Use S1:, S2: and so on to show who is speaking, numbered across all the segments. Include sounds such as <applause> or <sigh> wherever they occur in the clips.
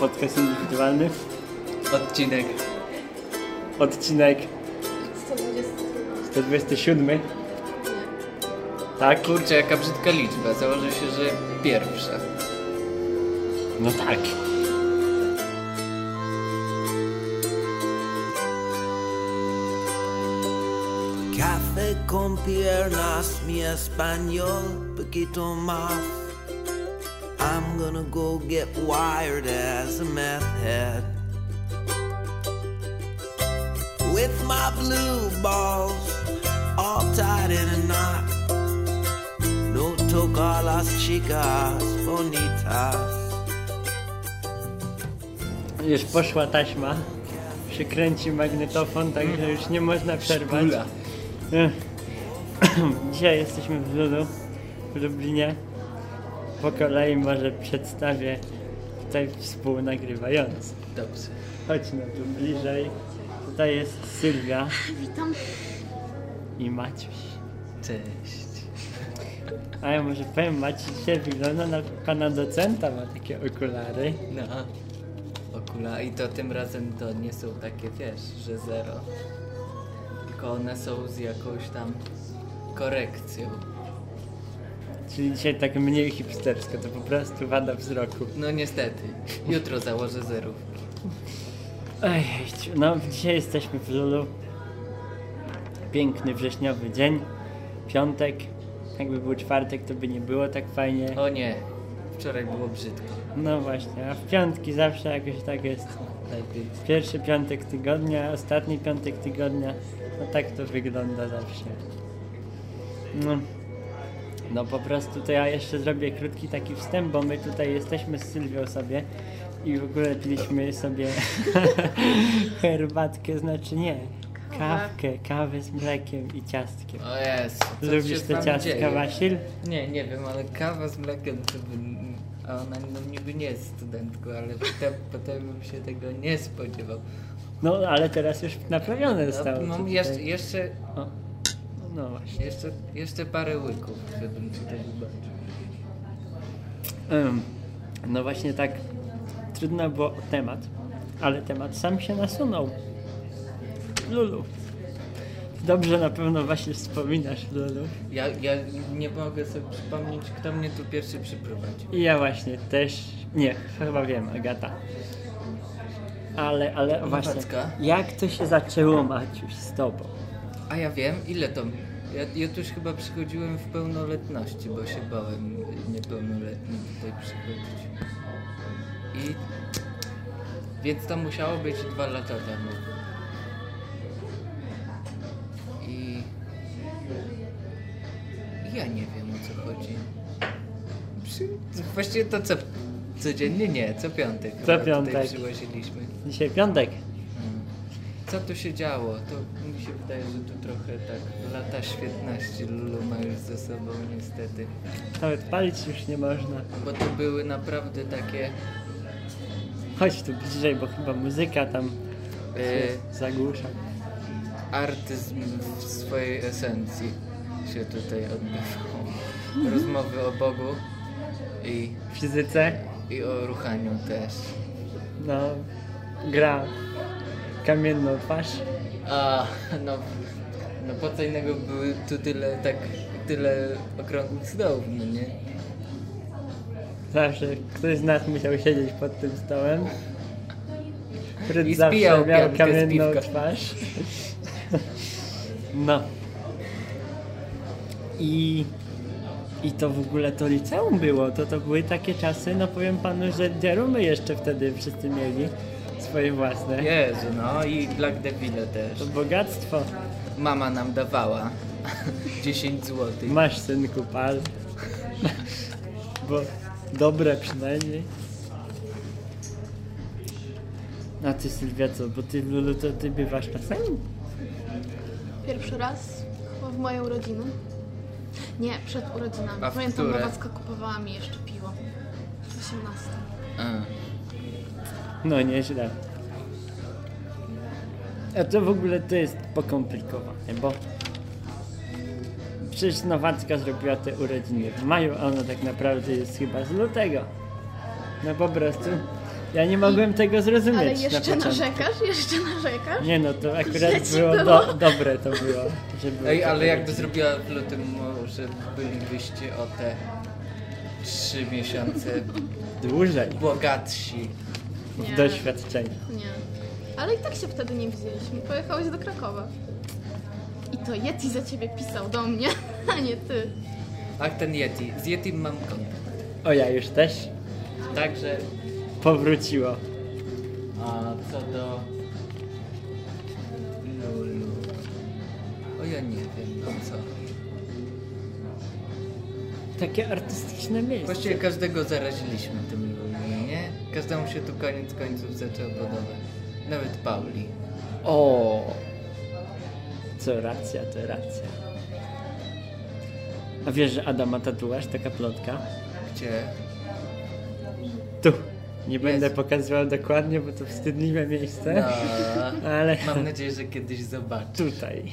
S1: Podcast indywidualny.
S2: Odcinek.
S1: Odcinek
S3: 120.
S1: 127. Tak?
S2: Kurczę, jaka brzydka liczba. Założę się, że pierwsza.
S1: No tak.
S4: Café con piernas, mi español, poquito más. I'm gonna go get wired as a meth head. With my blue balls all tied in a knot. No tocar las chicas bonitas.
S1: Już poszła taśma. Przykręci magnetofon, także już nie można przerwać.
S2: Szpula.
S1: Ech. <clears throat> Dzisiaj jesteśmy w Lulu, w Lublinie. Po kolei może przedstawię tutaj współnagrywających.
S2: Dobrze.
S1: Chodź no tu bliżej. Tutaj jest Sylwia
S3: Witam.
S1: i Maciuś.
S2: Cześć.
S1: A ja może powiem, Maciej dzisiaj wygląda na pana docenta, ma takie okulary.
S2: No. Okula. I to tym razem to nie są takie, wiesz, że zero. Tylko one są z jakąś tam korekcją.
S1: Czyli dzisiaj tak mniej hipstersko, to po prostu wada wzroku.
S2: No niestety. Jutro założę zerówki.
S1: Ej, no dzisiaj jesteśmy w Lulu. Piękny wrześniowy dzień, piątek. Jakby był czwartek, to by nie było tak fajnie.
S2: O nie. Wczoraj było brzydko.
S1: No właśnie, a w piątki zawsze jakoś tak jest.
S2: Lepiej.
S1: Pierwszy piątek tygodnia, ostatni piątek tygodnia. No tak to wygląda zawsze. No. No po prostu to ja jeszcze zrobię krótki taki wstęp, bo my tutaj jesteśmy z Sylwią sobie i w ogóle piliśmy sobie <laughs> herbatkę, znaczy nie, kawkę, kawę z mlekiem i ciastkiem.
S2: O jest.
S1: Lubisz te ciastka, Wasil?
S2: Nie, nie wiem, ale kawa z mlekiem to by... A ona no, niby nie jest studentką, ale <laughs> potem, potem bym się tego nie spodziewał.
S1: No ale teraz już naprawione zostało.
S2: No, mam
S1: tutaj.
S2: jeszcze, jeszcze,
S1: O, No właśnie.
S2: jeszcze, jeszcze parę łyków, żebym tutaj zobaczył.
S1: Em, No właśnie tak trudno było o temat, ale temat sam się nasunął. Lulu. Dobrze na pewno właśnie wspominasz Lulu.
S2: Ja, ja nie mogę sobie przypomnieć, kto mnie tu pierwszy przyprowadził.
S1: I ja właśnie też. Nie, chyba wiem, Agata. Ale, ale właśnie.
S2: Nowacka?
S1: Jak to się zaczęło Maciuś z tobą?
S2: A ja wiem, ile to... Ja, ja tu już chyba przychodziłem w pełnoletności, bo się bałem niepełnoletnim tutaj przychodzić. I... Więc to musiało być dwa lata temu. I... Ja nie wiem o co chodzi. Przy... Właściwie to co... Codziennie nie, co piątek.
S1: Co
S2: chyba
S1: piątek.
S2: Tutaj przyłaziliśmy.
S1: Dzisiaj piątek.
S2: Mm. Co tu się działo? To mi się wydaje, że tu trochę tak lata świetności Lulu ma już ze sobą niestety.
S1: Nawet palić już nie można.
S2: Bo to były naprawdę takie...
S1: Chodź tu bliżej, bo chyba muzyka tam się
S2: E,
S1: zagłusza.
S2: artyzm w swojej esencji się tutaj odbywał. Rozmowy o Bogu i,
S1: W fizyce
S2: i o ruchaniu też.
S1: No, gra kamienną twarz.
S2: A, no, no po co innego były tu tyle tak, tyle okrągłych stołów, no nie?
S1: Zawsze ktoś z nas musiał siedzieć pod tym stołem. Fryt
S2: I
S1: zawsze
S2: spijał
S1: miał
S2: piankę z
S1: kamienną
S2: piwka. <laughs>
S1: twarz. No. I, I to w ogóle to liceum było. To, to były takie czasy, no powiem panu, że diarumy jeszcze wtedy wszyscy mieli swoje własne.
S2: Jezu, no i Black Devil też.
S1: To bogactwo.
S2: Mama nam dawała <laughs> 10 zł.
S1: Masz synku pal. Bo dobre przynajmniej. A ty Sylwia co, bo ty Lulu to ty bywasz czasami?
S3: Pierwszy raz chyba w moje urodziny. Nie, przed urodzinami.
S2: A w
S3: Pamiętam,
S2: które?
S3: Nowacka kupowała mi jeszcze piwo. 18.
S1: No nieźle. A to w ogóle to jest pokomplikowane, bo przecież Nowacka zrobiła te urodziny w maju, a ona tak naprawdę jest chyba z lutego. No po prostu. Ja nie mogłem tego zrozumieć.
S3: Ale jeszcze
S1: na początku.
S3: narzekasz? Jeszcze narzekasz?
S1: Nie no, to
S3: Źle
S1: akurat
S3: ci
S1: było,
S3: było.
S1: Do, dobre to było. że były
S2: Ej, ale
S1: takie
S2: jakby
S1: rodziny.
S2: zrobiła w lutym, może bylibyście o te trzy miesiące
S1: Dłużej
S2: bogatsi.
S1: w
S3: Nie.
S1: doświadczeniu.
S3: Nie. Ale i tak się wtedy nie widzieliśmy. Pojechałeś do Krakowa. I to Yeti za ciebie pisał do mnie, <laughs> a nie ty.
S2: Tak, ten Yeti. Z Yeti mam kontakt.
S1: O ja już też
S2: Także,
S1: powróciło.
S2: a co do... Lulu... O ja nie wiem, no co.
S1: Takie artystyczne miejsce.
S2: Właściwie każdego zaraziliśmy tym Lulu, nie? Każdemu się tu koniec końców zaczął podobać. Nawet Pauli.
S1: O! Co racja, to racja. A wiesz, że Ada ma tatuaż, taka plotka?
S2: Gdzie?
S1: Tu. Nie będę
S2: Jezu.
S1: pokazywał dokładnie, bo to wstydliwe miejsce.
S2: No,
S1: <laughs> Ale
S2: mam nadzieję, że kiedyś zobaczę.
S1: tutaj.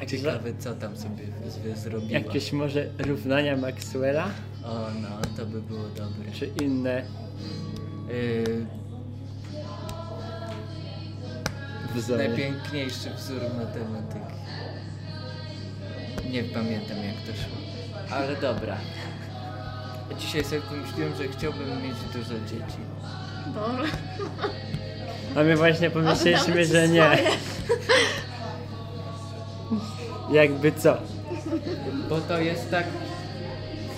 S1: Także-
S2: Ciekawe, co tam sobie z- zrobiła.
S1: Jakieś może równania Maxwella,
S2: O, no, to by było dobre.
S1: czy inne
S2: Yy,
S1: wzory.
S2: najpiękniejszy wzór matematyki. Nie pamiętam, jak to szło. Ale dobra. Dzisiaj sobie pomyśliłem, że chciałbym mieć dużo dzieci.
S3: Dobra.
S1: A my właśnie
S3: Oddamy
S1: pomyśleliśmy,
S3: ci
S1: że nie.
S3: swoje.
S1: Jakby co?
S2: Bo to jest tak...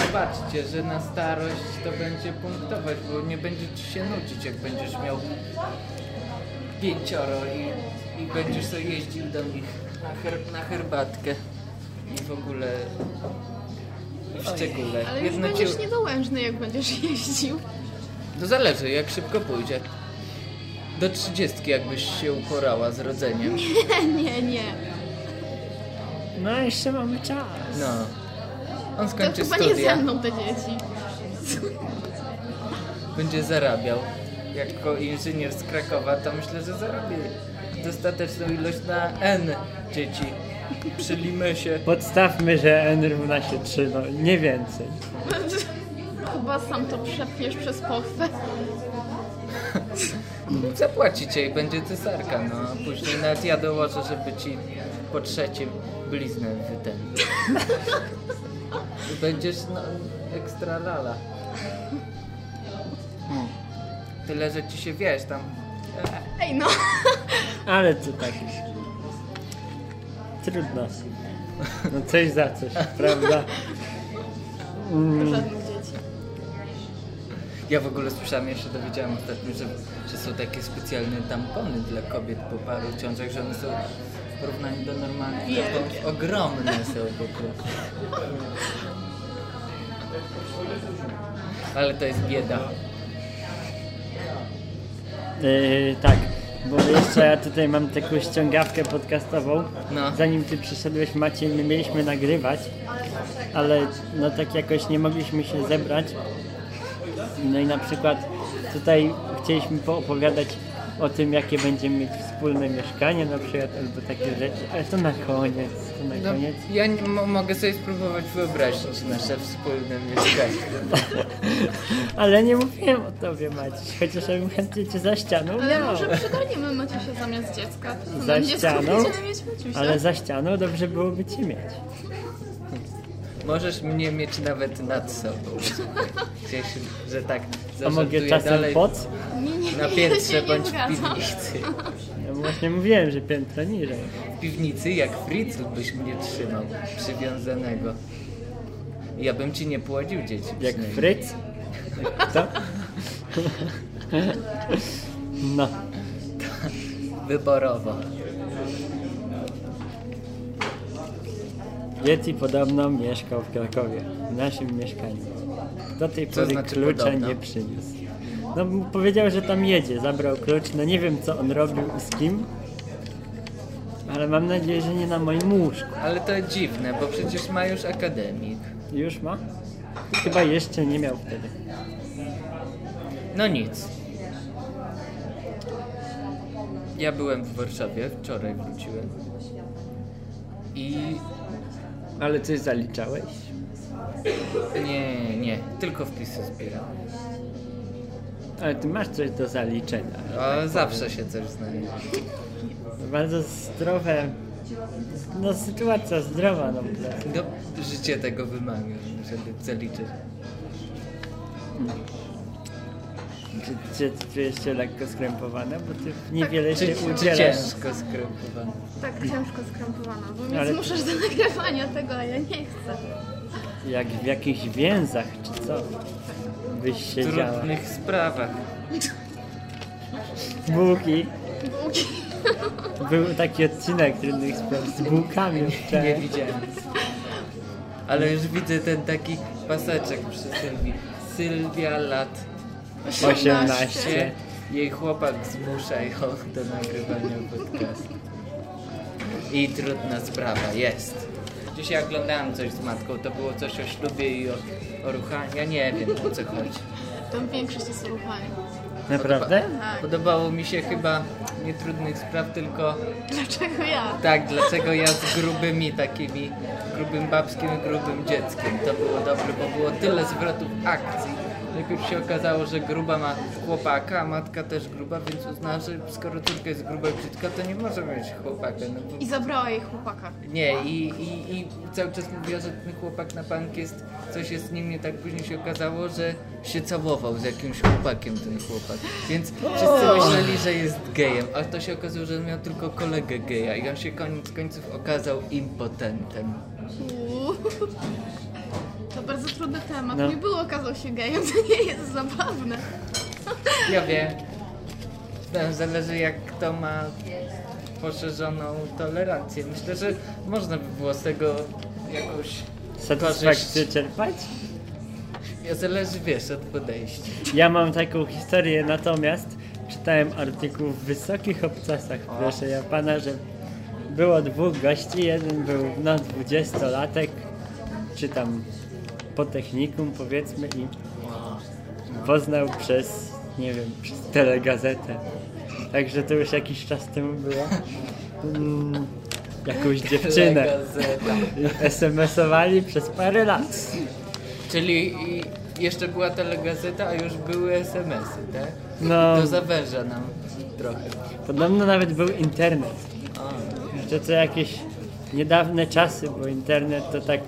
S2: Zobaczcie, że na starość to będzie punktować, bo nie będzie ci się nudzić, jak będziesz miał pięcioro i, i będziesz sobie jeździł do nich na, her, na herbatkę i w ogóle i w szczególe.
S3: Ale już
S2: Jedno Tak. cię-
S3: będziesz niedołężny, jak będziesz jeździł. <laughs>
S2: To zależy, jak szybko pójdzie. Do trzydziestki jakbyś się uporała z rodzeniem.
S3: Nie, nie, nie.
S1: No jeszcze mamy czas.
S2: No. On
S3: To
S2: skończy
S3: chyba nie ze
S2: studia,
S3: mną te dzieci.
S2: będzie zarabiał. Jako inżynier z Krakowa to myślę, że zarobi dostateczną ilość na N dzieci. Przy limesie.
S1: Podstawmy, że n równa się 3, no nie więcej.
S3: Chyba sam to przepniesz przez pochwę.
S2: Zapłacicie i będzie cesarka, no. A Później nawet ja dołożę, żeby ci po trzecim bliznę wytem. I <laughs> będziesz, no, ekstra lala. Tyle, że ci się wiesz tam.
S3: Ej no,
S1: Ale to tak. Trudno. No coś za coś, prawda?
S3: żadnych dzieci.
S2: Ja w ogóle słyszałem, ja się dowiedziałem ostatnio, że, że są takie specjalne tampony dla kobiet po paru ciążach, że one są w porównaniu do normalnych
S3: Wielkie.
S2: tampon, ogromne są po prostu. Ale to jest bieda.
S1: Yy, tak, bo jeszcze ja tutaj mam taką ściągawkę podcastową.
S2: No.
S1: Zanim ty przyszedłeś Maciej, my mieliśmy nagrywać, ale no tak jakoś nie mogliśmy się zebrać. No i na przykład tutaj chcieliśmy poopowiadać o tym, jakie będziemy mieć wspólne mieszkanie na przykład, albo takie rzeczy, ale to na koniec, to na
S2: No,
S1: koniec.
S2: ja nie, mo- mogę sobie spróbować wyobrazić nasze wspólne mieszkanie.
S1: Ale nie mówiłem o tobie Maciej, chociaż ja bym chętnie cię za ścianą
S3: Ale
S1: miał.
S3: może przygarniemy Maciusia zamiast dziecka.
S1: Za
S3: Za dziecko
S1: ścianą?
S3: będziemy mieć Maciusia.
S1: Ale za ścianą dobrze byłoby cię mieć.
S2: Możesz mnie mieć nawet nad sobą. Gdzieś, że tak
S1: A mogę
S2: zażartuję
S1: czasem
S2: dalej
S1: pod?
S3: Nie, nie,
S2: na
S3: nie,
S2: piętrze
S3: <laughs> ja się
S2: bądź w
S3: nie zgadzam.
S2: piwnicy.
S1: Ja właśnie mówiłem, że piętro niżej.
S2: W piwnicy jak Fritzel byś mnie trzymał przywiązanego. Ja bym ci nie płodził dzieci.
S1: Jak
S2: przynajmniej.
S1: Fryc? To? No,
S2: Wyborowo.
S1: Yeti podobno mieszkał w Krakowie, w naszym mieszkaniu. Do tej pory
S2: znaczy
S1: klucza
S2: podobno?
S1: nie przyniósł. No m- powiedział, że tam jedzie, zabrał klucz, no nie wiem co on robił i z kim, ale mam nadzieję, że nie na moim łóżku.
S2: Ale to dziwne, bo przecież ma już akademik.
S1: Już ma? Chyba jeszcze nie miał wtedy.
S2: No nic. Ja byłem w Warszawie, wczoraj wróciłem. I
S1: Ale coś zaliczałeś?
S2: Nie, nie, tylko wpisy zbieram.
S1: Ale ty masz coś do zaliczenia.
S2: A zawsze się coś znajdzie.
S1: Bardzo zdrowe. No sytuacja zdrowa, no.
S2: No, życie tego wymaga, żeby zaliczyć.
S1: Czy, czy, czy jeszcze lekko skrępowane? Bo ty niewiele się
S2: Tak, Czy
S1: udzielasz.
S2: ciężko skrępowane?
S3: Tak ciężko skrępowana, bo mnie
S1: Ale-
S3: zmuszasz do nagrywania tego, a ja nie chcę.
S1: Jak w jakichś więzach, czy co? Byś
S2: W
S1: siedziała.
S2: trudnych sprawach.
S1: Bułki.
S3: Bułki.
S1: Był taki odcinek trudnych spraw z bułkami
S2: Nie
S1: wczoraj.
S2: widziałem. Ale już widzę ten taki paseczek przy Sylwii. Sylwia lat
S1: 18.
S2: się. Jej chłopak zmusza ją do nagrywania podcastu. I trudna sprawa, jest. Dzisiaj oglądałem coś z matką, to było coś o ślubie i o, o ruchaniu. Ja nie wiem o co chodzi.
S3: Tam większość jest uruchania.
S1: Naprawdę?
S3: Tak.
S2: Podobało mi się chyba nie trudnych spraw, tylko
S3: Dlaczego ja?
S2: tak, dlaczego ja z grubymi takimi, grubym babskim i grubym dzieckiem. To było dobre, bo było tyle zwrotów akcji. Najpierw się okazało, że gruba ma chłopaka, a matka też gruba, więc uznała, że skoro córka jest gruba i brzydka, to nie może mieć chłopaka. No bo...
S3: I zabrała jej chłopaka.
S2: Nie, i, i, i cały czas mówiła, że ten chłopak na bank jest, coś jest z nim nie tak. Później się okazało, że się całował z jakimś chłopakiem ten chłopak. Więc wszyscy myśleli, że jest gejem, a to się okazało, że miał tylko kolegę geja i on się koniec końców okazał impotentem.
S3: Uuu. To bardzo trudny temat.
S1: No.
S3: Nie było, okazał się gejem, to nie jest zabawne.
S2: Ja wiem. To Zależy jak kto ma poszerzoną tolerancję. Myślę, że można by było z tego jakąś
S1: Satysfakcję czerpać?
S2: Ja zależy, wiesz, od podejścia.
S1: Ja mam taką historię, natomiast czytałem artykuł w Wysokich Obcasach, proszę ja pana, że było dwóch gości, jeden był no, dwudziestolatek, czy tam po technikum powiedzmy i poznał przez, nie wiem, przez telegazetę. Także to już jakiś czas temu było. Mm, jakąś dziewczynę.
S2: Gazeta.
S1: SMS-owali przez parę lat.
S2: Czyli i- jeszcze była telegazeta, a już były SMS-y, tak?
S1: No.
S2: To zawęża nam trochę.
S1: Podobno nawet był internet.
S2: A,
S1: Jeszcze to jakieś niedawne czasy, bo internet to tak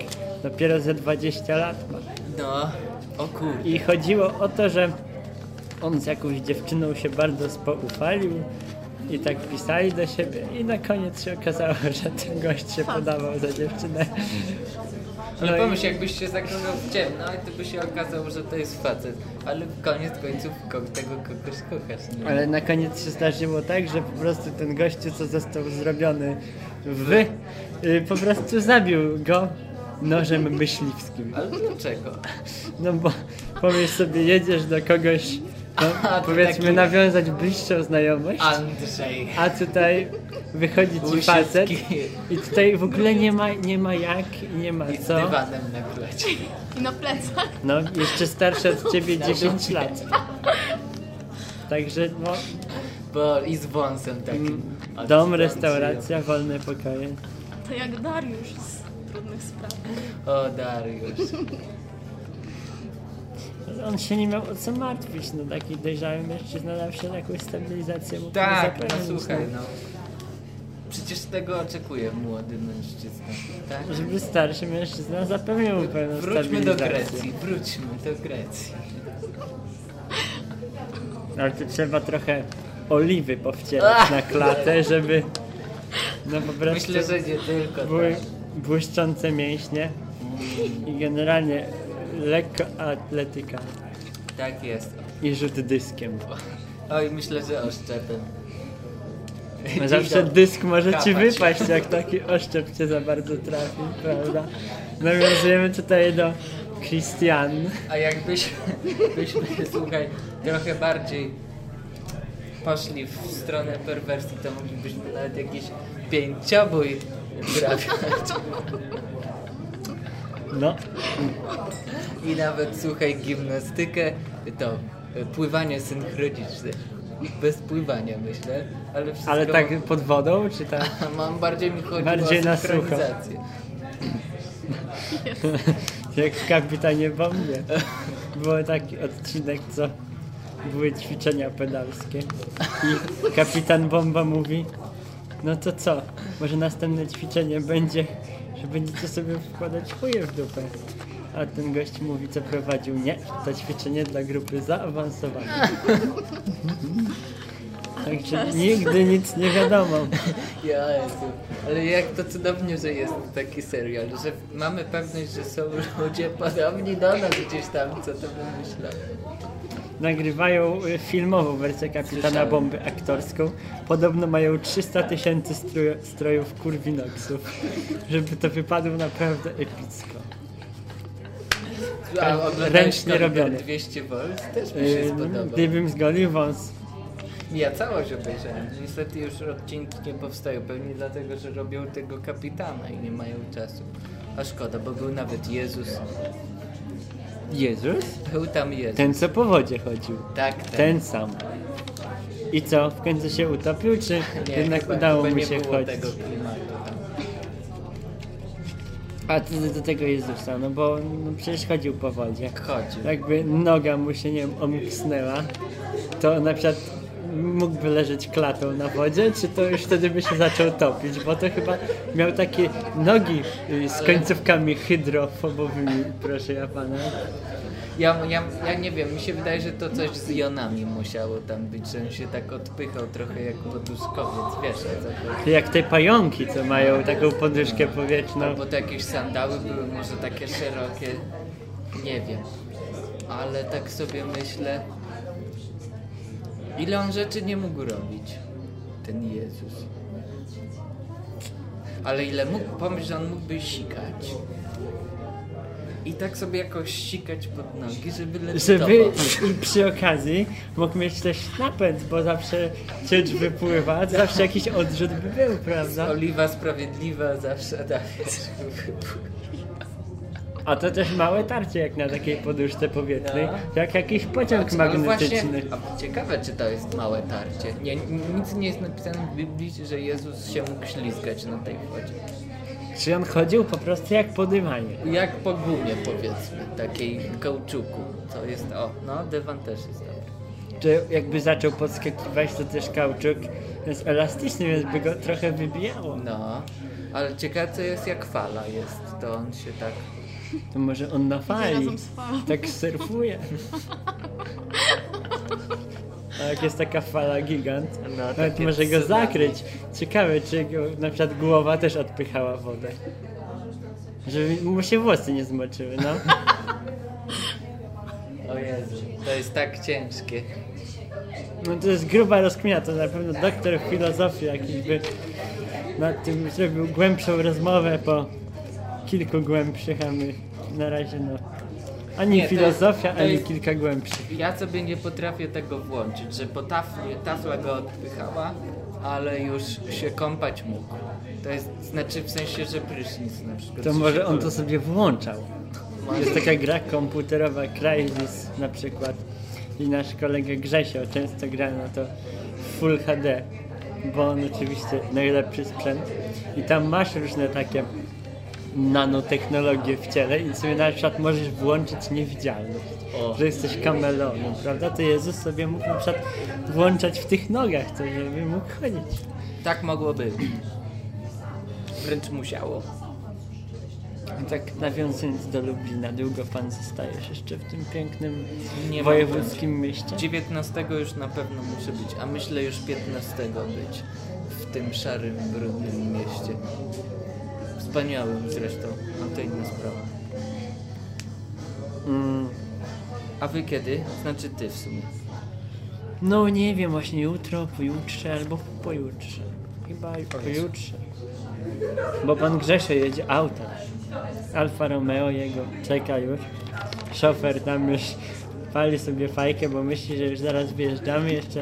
S1: dopiero ze 20 lat ma.
S2: no, o kurde.
S1: I chodziło o to, że on z jakąś dziewczyną się bardzo spoufalił i tak pisali do siebie i na koniec się okazało, że ten gość się podawał za dziewczynę.
S2: Ale
S1: No i-
S2: pomyśl, jakbyś się zakochał w ciemno i to by się okazało, że to jest facet. Ale koniec końców ko- tego kogoś kochasz, nie?
S1: Ale na koniec się zdarzyło tak, że po prostu ten gościu, co został zrobiony w... y, po prostu zabił go nożem myśliwskim.
S2: Ale dlaczego?
S1: No bo powiesz sobie, jedziesz do kogoś, no,
S2: <laughs> A, to
S1: powiedzmy
S2: taki-
S1: nawiązać bliższą znajomość, a,
S2: Andrzej.
S1: tutaj wychodzi ci
S2: Łysiecki.
S1: facet i tutaj w ogóle nie ma, nie ma jak i nie ma
S2: I z
S1: co.
S2: dywanem na klecie.
S3: I na plecach.
S1: No, jeszcze starszy od ciebie 10 lat. Także no,
S2: Bo i z wąsem takim.
S1: mm, dom, restauracja, wolne pokoje.
S3: To jak Dariusz z trudnych spraw.
S2: O, Dariusz.
S1: On się nie miał o co martwić, no taki dojrzały mężczyzna zawsze jakąś stabilizację mógł
S2: Tak, no
S1: zapewnić,
S2: słuchaj, no. Przecież tego oczekuje młody mężczyzna, tak?
S1: Żeby starszy mężczyzna zapewnił mu pewną
S2: Wróćmy do
S1: stabilizację.
S2: Grecji, wróćmy do Grecji.
S1: Ale to trzeba trochę oliwy powcierać na klatę, żeby no po prostu
S2: Myślę, że nie tylko
S1: były
S2: tak.
S1: błyszczące mięśnie i generalnie lekko atletyka
S2: Tak jest.
S1: i rzut dyskiem.
S2: Oj, myślę, że oszczepem.
S1: No Zawsze dysk może ci
S2: Kapać.
S1: wypaść, jak taki oszczep cię za bardzo trafi, prawda? No Nawiązujemy tutaj do Christian.
S2: A jakbyśmy, byśmy, słuchaj, trochę bardziej poszli w stronę perwersji, to moglibyśmy nawet jakiś pięciobój trafiać.
S1: No,
S2: I nawet, słuchaj, gimnastykę, to e, pływanie synchroniczne. Bez pływania, myślę, ale wszystko...
S1: ale tak pod wodą, czy tak?
S2: <laughs> Mam bardziej mi chodzi
S1: Bardziej
S2: o
S1: na sucho.
S2: synchronizację.
S1: <laughs> Jak w kapitanie bombie. Był taki odcinek, co były ćwiczenia pedalskie. I kapitan bomba mówi, no to co, może następne ćwiczenie będzie, że będziecie sobie wkładać chuje w dupę. A ten gość mówi, co prowadził, nie, to ćwiczenie dla grupy zaawansowanej. Także nigdy nic nie wiadomo.
S2: Ja jestem. Ale jak to cudownie, że jest taki serial, że mamy pewność, że są ludzie podobni do nas gdzieś tam, co to wymyśla.
S1: nagrywają y, filmową wersję Kapitana
S2: Słyszałem.
S1: Bomby aktorską. Podobno mają 300 tysięcy stroju, strojów kurwinoksów, żeby to wypadło naprawdę epicko.
S2: A
S1: Tak, Ręcznie
S2: oglądałeś Kaliber
S1: robione.
S2: 200 V też mi się
S1: Y,
S2: spodobało.
S1: Gdybym zgolił wąs,
S2: Ja całość obejrzałem. Niestety już odcinki nie powstają. Pewnie dlatego, że robią tego kapitana i nie mają czasu. A szkoda, bo był nawet Jezus.
S1: Jezus?
S2: Był tam Jezus.
S1: Ten co po wodzie chodził.
S2: Tak, ten.
S1: Ten sam. I co, w końcu się utopił, czy
S2: <laughs> Nie,
S1: jednak
S2: chyba,
S1: udało
S2: chyba
S1: mu
S2: nie
S1: się
S2: było
S1: chodzić?
S2: tego klimatu tam.
S1: A co do tego Jezusa, no bo no, przecież chodził po wodzie.
S2: Chodził.
S1: jakby noga mu się, nie wiem, omknęła, to na przykład mógłby leżeć klatą na wodzie, czy to już wtedy by się zaczął topić, bo to chyba miał takie nogi y, z końcówkami hydrofobowymi, proszę ja pana.
S2: Ja, ja, ja nie wiem, mi się wydaje, że to coś z jonami musiało tam być, że on się tak odpychał trochę jak poduszkowiec, wiesz, o co chodzi.
S1: Jak te pająki, co mają taką poduszkę powietrzną.
S2: Albo to jakieś sandały były może takie szerokie, nie wiem. Ale tak sobie myślę, ile on rzeczy nie mógł robić, ten Jezus. Ale ile mógł, pomyśl, że on mógłby sikać. I tak sobie jakoś sikać pod nogi, żeby leczyć.
S1: Żeby i przy okazji mógł mieć też napęd, bo zawsze ciecz wypływa, zawsze jakiś odrzut by był, prawda?
S2: Oliwa sprawiedliwa zawsze <laughs> tak.
S1: A to też małe tarcie jak na takiej poduszce powietrznej,
S2: No.
S1: jak jakiś pociąg
S2: Ale właśnie,
S1: magnetyczny.
S2: a ciekawe czy to jest małe tarcie. Nie, nic nie jest napisane w Biblii, że Jezus się mógł ślizgać na tej wodzie.
S1: Czy on chodził po prostu jak po dymanie?
S2: Jak po gumie powiedzmy, takiej kauczuku. To jest, o, no dywan też jest dobry.
S1: Czy jakby zaczął podskakiwać, to też kauczuk jest elastyczny, więc by go trochę wybijało.
S2: No, ale ciekawe co jest jak fala jest, to on się tak...
S1: To może on na fali,
S3: razem z falą.
S1: tak surfuje. A jak jest taka fala gigant,
S2: No,
S1: nawet
S2: takie
S1: może go
S2: tsunami.
S1: zakryć. Ciekawe, czy go, na przykład głowa też odpychała wodę. Żeby mu się włosy nie zmoczyły, no.
S2: O Jezu, to jest tak ciężkie.
S1: No to jest gruba rozkmina, to na pewno doktor filozofii jakiś by nad tym zrobił głębszą rozmowę po kilku głębszych, a my na razie no ani
S2: Nie, to
S1: filozofia,
S2: jest- to
S1: ani
S2: jest-
S1: kilka głębszych.
S2: Ja sobie nie potrafię tego włączyć, że po tafli, tafla go odpychała, ale już się kąpać mógł. To jest, znaczy w sensie, że prysznic na przykład.
S1: To
S2: że
S1: może
S2: się
S1: on
S2: kąpał.
S1: to sobie włączał. Jest taka gra komputerowa Crysis na przykład i nasz kolega Grzesio często gra na to w Full HD, bo on oczywiście najlepszy sprzęt i tam masz różne takie nanotechnologie w ciele i sobie na przykład możesz włączyć niewidzialność,
S2: O.
S1: że jesteś kameleonem, prawda? To Jezus sobie mógł na przykład włączać w tych nogach, to żeby mógł chodzić.
S2: Tak mogło być. Wręcz musiało.
S1: I Tak nawiązując do Lublina, długo pan zostajesz jeszcze w tym pięknym
S2: Nie mam
S1: wojewódzkim mieście?
S2: 19 już na pewno muszę być, a myślę już 15 być w tym szarym, brudnym mieście. Wspaniałym zresztą, a to inna sprawa.
S1: Mm.
S2: A wy kiedy? Znaczy ty w sumie.
S1: No nie wiem, właśnie jutro, pojutrze albo pojutrze. Chyba pojutrze. Bo pan Grzesio jedzie autem. Alfa Romeo jego czeka już. Szofer tam już pali sobie fajkę, bo myśli, że już zaraz wyjeżdżamy. Jeszcze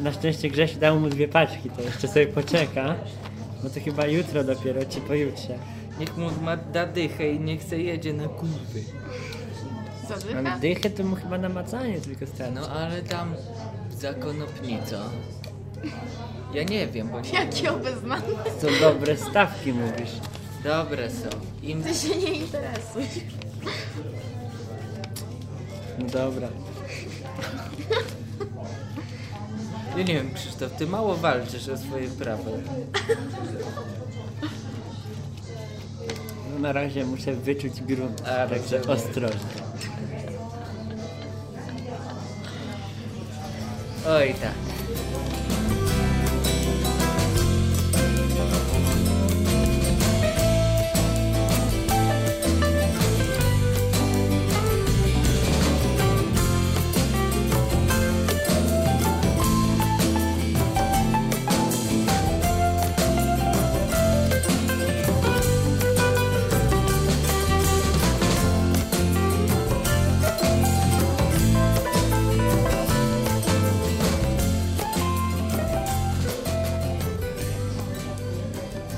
S1: na szczęście Grzesio dał mu dwie paczki, to jeszcze sobie poczeka. No to chyba jutro dopiero, czy pojutrze.
S2: Niech mu ma da dychę i niech se jedzie na kurwy.
S1: Mam
S3: Zadycha?
S1: dychę, to mu chyba namacanie tylko starczy.
S2: No ale tam zakonopnica. Ja nie wiem, bo nie.
S3: Jakie obeznane?
S1: Co dobre stawki mówisz.
S2: Dobre są. Im
S3: Ty się nie interesuj.
S1: No dobra.
S2: Ja nie wiem, Krzysztof, ty mało walczysz o swoje prawa.
S1: No na razie muszę wyczuć grunt,
S2: A,
S1: także
S2: rozumiem.
S1: ostrożnie.
S2: Oj tak.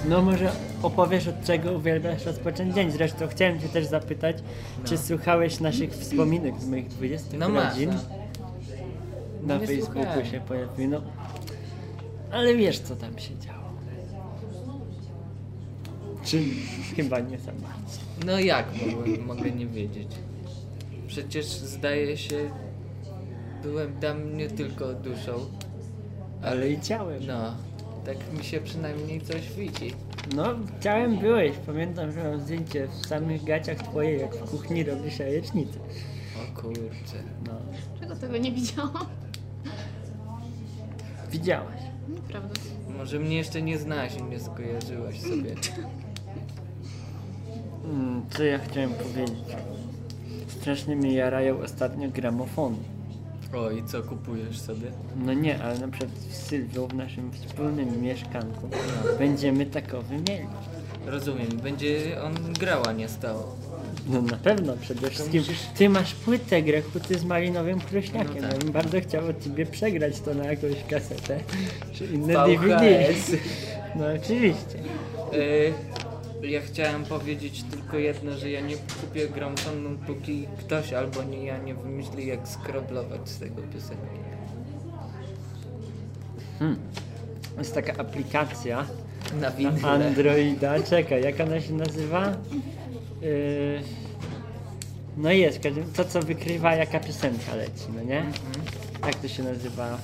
S1: No może opowiesz od czego uwielbiasz rozpocząć dzień. Zresztą chciałem cię też zapytać, czy słuchałeś naszych wspominek z moich 20
S2: No masz.
S1: urodzin?
S2: No
S1: Na
S2: nie
S1: Facebooku
S2: słuchałem.
S1: się pojawiły. No. Ale wiesz co tam się działo. Czy chyba nie za bardzo.
S2: No jak mogłem, mogę nie wiedzieć? Przecież zdaje się, byłem tam nie tylko duszą, ale
S1: Ale i ciałem.
S2: no, tak mi się przynajmniej coś widzi.
S1: No, ciałem byłeś. Pamiętam, że mam zdjęcie w samych gaciach twojej, jak w kuchni robisz jajecznicę.
S2: O kurczę.
S1: No,
S3: Czego tego nie widziałam?
S1: widziałaś.
S3: Nieprawda.
S2: Może mnie jeszcze nie znałaś i nie skojarzyłaś sobie.
S1: Mm, co ja chciałem powiedzieć? Strasznie mnie jarają ostatnio gramofony.
S2: O, i co kupujesz sobie?
S1: No nie, ale na przykład z Sylwią w naszym wspólnym mieszkanku będziemy takowy mieli.
S2: Rozumiem, będzie on grała nie stało.
S1: No na pewno przede wszystkim.
S2: musisz-
S1: Ty masz płytę Grechu, ty z malinowym kruśniakiem.
S2: No tak.
S1: Ja bym bardzo chciał od ciebie przegrać to na jakąś kasetę czy inne DVD.
S2: VHS.
S1: No oczywiście.
S2: Y, Ja chciałem powiedzieć tylko jedno, że ja nie kupię gramofonu, póki ktoś albo nie ja nie wymyśli jak skroblować z tego piosenki.
S1: Jest taka aplikacja
S2: Na
S1: na
S2: winyle.
S1: Androida. Czekaj, jak ona się nazywa? Yy... No jest, w każdym- to co wykrywa jaka piosenka leci, no nie? Jak to się nazywa?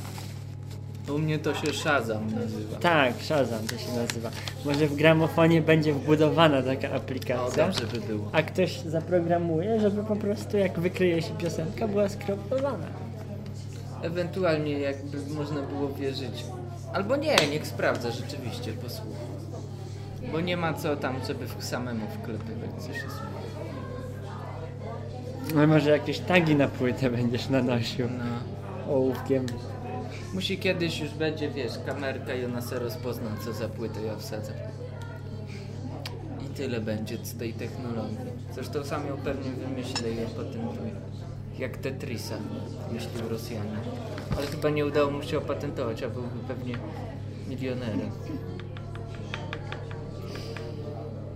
S2: U mnie to się Shazam nazywa.
S1: Tak, Shazam to się nazywa. Może w gramofonie będzie wbudowana taka
S2: O,
S1: aplikacja.
S2: No, dobrze by było.
S1: A ktoś zaprogramuje, żeby po prostu jak wykryje się piosenka, była skropowana.
S2: Ewentualnie jakby można było wierzyć. Albo nie, niech sprawdza rzeczywiście, posłucha. Bo nie ma co tam, żeby w- samemu wklepywać, co się słucha.
S1: No może jakieś tagi na płytę będziesz nanosił
S2: No.
S1: ołówkiem.
S2: Musi kiedyś już będzie, wiesz, kamerka i ona se rozpozna, co za płytę ja wsadzę. I tyle będzie z tej technologii. Zresztą sam ją pewnie wymyślę i ją patentuję. Jak Tetrisa, myślił Rosjanie. Ale chyba nie udało mu się opatentować, a byłby pewnie milionerem.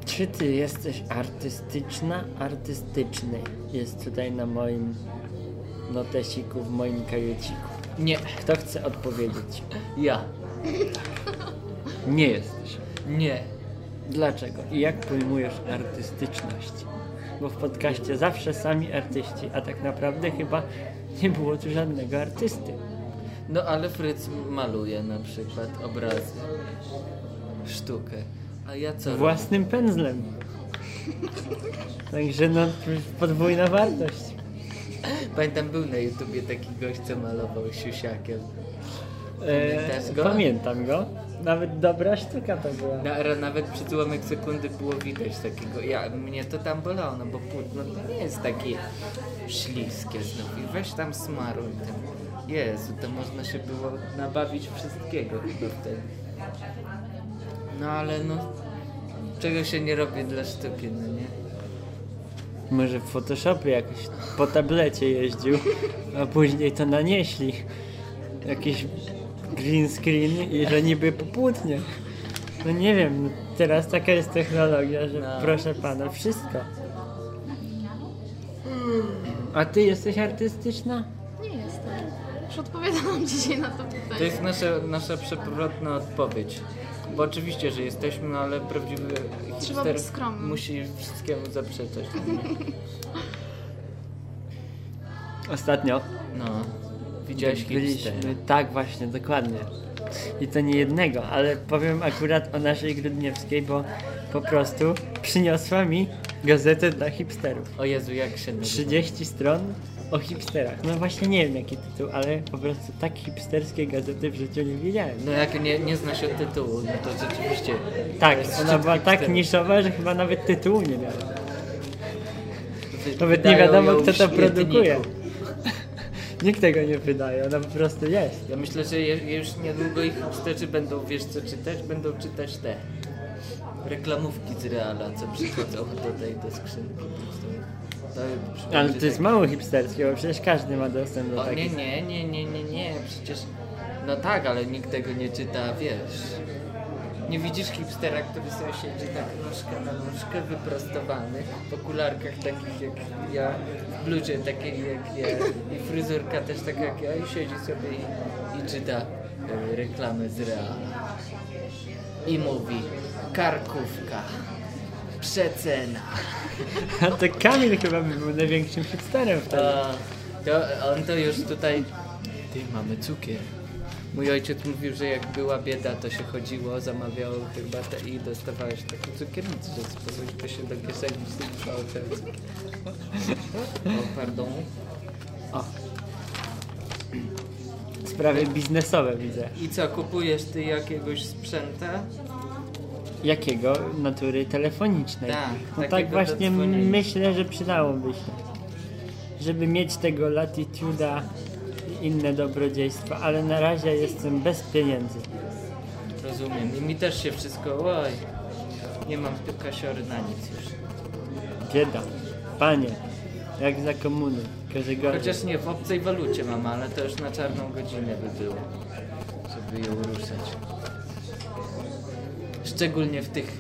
S1: Czy ty jesteś artystyczna? Artystyczny jest tutaj na moim notesiku, w moim kajeciku.
S2: Nie,
S1: Kto chce odpowiedzieć?
S2: ja.
S1: Nie jesteś.
S2: Nie.
S1: Dlaczego? I jak pojmujesz artystyczność? Bo w podcaście zawsze sami artyści, a tak naprawdę chyba nie było tu żadnego artysty.
S2: No ale Fryc maluje na przykład obrazy, sztukę. A ja co robię?
S1: Własnym pędzlem. Także no, podwójna wartość.
S2: Pamiętam, był na YouTubie taki gość, co malował siusiakiem.
S1: E,
S2: Pamiętasz go?
S1: Pamiętam go. Nawet dobra sztuka to była.
S2: Na, ra- nawet przez ułamek sekundy było widać takiego. Ja, mnie to tam bolało, no bo płótno to nie jest takie śliskie znów. I weź tam smaruj tym. Jezu, to można się było nabawić wszystkiego chyba wtedy. No ale no, czego się nie robi dla sztuki, no nie?
S1: Może w Photoshopie jakoś po tablecie jeździł, a później to nanieśli. Jakiś green screen i że niby popłótnie. No nie wiem, no teraz taka jest technologia, że
S2: No.
S1: proszę pana, wszystko. A ty jesteś artystyczna?
S3: Nie jestem. Już odpowiadałam dzisiaj na to pytanie.
S2: To jest nasza, nasza przeprowadzna odpowiedź. Bo oczywiście, że jesteśmy, no ale prawdziwy
S3: Trzeba
S2: hipster
S3: być skromnym.
S2: musi wszystkiemu zaprzeczać. no nie?
S1: Ostatnio
S2: No, widziałeś hipstera.
S1: byliśmy, tak właśnie, dokładnie. I to nie jednego, ale powiem akurat o naszej Grudniewskiej, bo po prostu przyniosła mi gazetę dla hipsterów.
S2: O Jezu, jak się nazywa?
S1: 30 stron o hipsterach. No właśnie nie wiem jaki tytuł, ale po prostu tak hipsterskiej gazety w życiu nie widziałem.
S2: No jak nie, nie zna się tytułu, no to rzeczywiście.
S1: Tak,
S2: to jest
S1: ona
S2: szczyt
S1: była tak
S2: hipsterów.
S1: niszowa, że chyba nawet tytułu nie miała.
S2: Wy-
S1: Nawet nie
S2: wydają
S1: wiadomo
S2: ją
S1: kto
S2: w
S1: to
S2: śmietniku.
S1: produkuje. <laughs> Nikt tego nie wydaje, ona po prostu jest.
S2: Ja myślę, że je, już niedługo ich hipsterzy będą, wiesz co czytać, będą czytać te reklamówki z Reala, co przychodzą tutaj do skrzynki. To przychodzi
S1: Ale to jest
S2: tak-
S1: mało hipsterskie, bo przecież każdy ma dostęp do
S2: O, nie,
S1: takich.
S2: nie, nie, nie, nie, nie, przecież... No tak, ale nikt tego nie czyta, wiesz... Nie widzisz hipstera, który sobie siedzi tak nóżkę na nóżkę, wyprostowany, w okularkach takich jak ja, w bluzie takiej jak ja i fryzurka też taka jak ja i siedzi sobie i, i czyta y, reklamy z Reala. I mówi, karkówka, przecena.
S1: <laughs> A to Kamil chyba by był największym hipsterem wtedy.
S2: A, to on to już tutaj. Ty, mamy cukier. Mój ojciec mówił, że jak była bieda, to się chodziło, zamawiało herbatę i dostawałeś taką cukiernicę, że sposób to się do kieszeni wsypało ten cukier. O, pardon.
S1: O. Sprawy biznesowe widzę.
S2: I co, kupujesz ty jakiegoś sprzęta?
S1: Jakiego? Natury telefonicznej.
S2: Tak,
S1: no
S2: takiego
S1: tak
S2: do
S1: właśnie
S2: dzwonienia.
S1: myślę, że przydałoby się. Żeby mieć tego latituda i inne dobrodziejstwa, ale na razie jestem bez pieniędzy.
S2: Rozumiem. I mi też się wszystko, oj, nie mam kasiory na nic już.
S1: Bieda. Panie, jak za komuny. Każdy gorzej.
S2: Chociaż nie, w obcej walucie mam, ale to już na czarną godzinę by było, żeby ją ruszać. Szczególnie w tych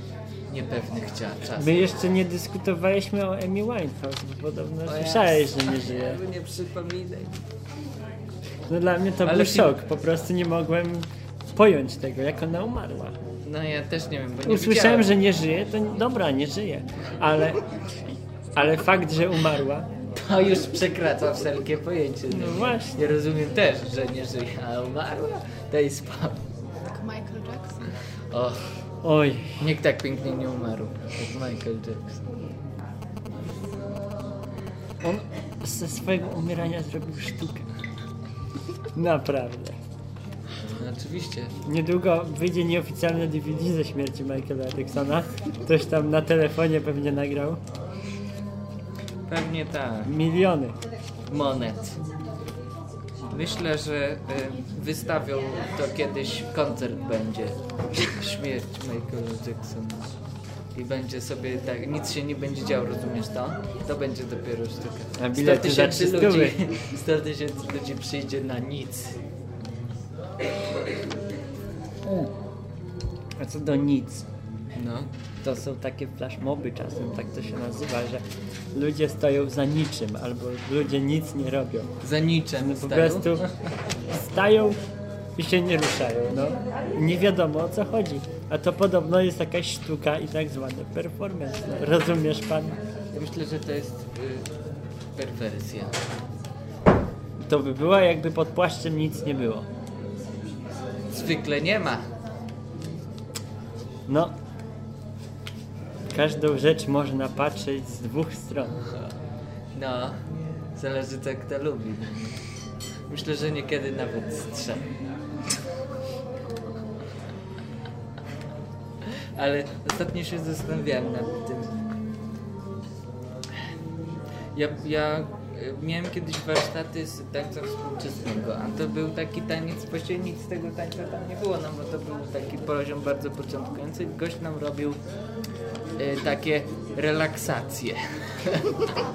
S2: niepewnych cia- czasach.
S1: My jeszcze nie dyskutowaliśmy o Amy Winehouse, bo podobno
S2: O ja-
S1: słyszałeś, że nie żyje.
S2: Jakby nie przypominaj.
S1: No dla mnie to
S2: Ale
S1: był
S2: film-
S1: szok, po prostu nie mogłem pojąć tego, jak ona umarła.
S2: No ja też nie wiem, bo nie
S1: Usłyszałem,
S2: widziałem.
S1: że nie żyje, to dobra, nie żyje, ale, ale fakt, że umarła,
S2: To już przekracza wszelkie pojęcie.
S1: No właśnie.
S2: Nie rozumiem też, że nie żyje, a umarła. Daj spał.
S3: Jak Tak, Michael Jackson.
S2: Och,
S1: oj,
S2: nikt tak pięknie nie umarł, jak Michael Jackson.
S1: on ze swojego umierania zrobił sztukę. Naprawdę.
S2: No, oczywiście.
S1: Niedługo wyjdzie nieoficjalne DVD ze śmierci Michaela Jacksona. Ktoś tam na telefonie pewnie nagrał.
S2: Pewnie tak.
S1: Miliony.
S2: monet. Myślę, że y, wystawią to kiedyś, koncert będzie. Śmierć Michaela Jacksona. I będzie sobie tak, nic się nie będzie działo, rozumiesz to? To będzie dopiero sztuka.
S1: A
S2: 100
S1: bilety za
S2: tysięcy
S1: 300
S2: ludzi, <laughs> 100 tysięcy ludzi przyjdzie na nic.
S1: A co do nic.
S2: No.
S1: To są takie flashmoby czasem, tak to się nazywa, że ludzie stoją za niczym, albo ludzie nic nie robią.
S2: Za No. niczem
S1: No Po
S2: stają.
S1: prostu stają i się nie ruszają, no. Nie wiadomo o co chodzi. A to podobno jest jakaś sztuka i tak zwany performance. No, rozumiesz pan?
S2: Ja myślę, że to jest y, perwersja.
S1: To by było jakby pod płaszczem nic nie było.
S2: Zwykle nie ma.
S1: No. Każdą rzecz można patrzeć z dwóch stron.
S2: No, zależy co kto lubi. Myślę, że niekiedy nawet z trzech. Ale ostatnio się zastanawiałem nad tym. Ja, ja y, miałem kiedyś warsztaty z tańca współczesnego, a to był taki taniec, właściwie nic z tego tańca tam nie było, no bo to był taki poziom bardzo początkujący. Gość nam robił y, takie relaksacje.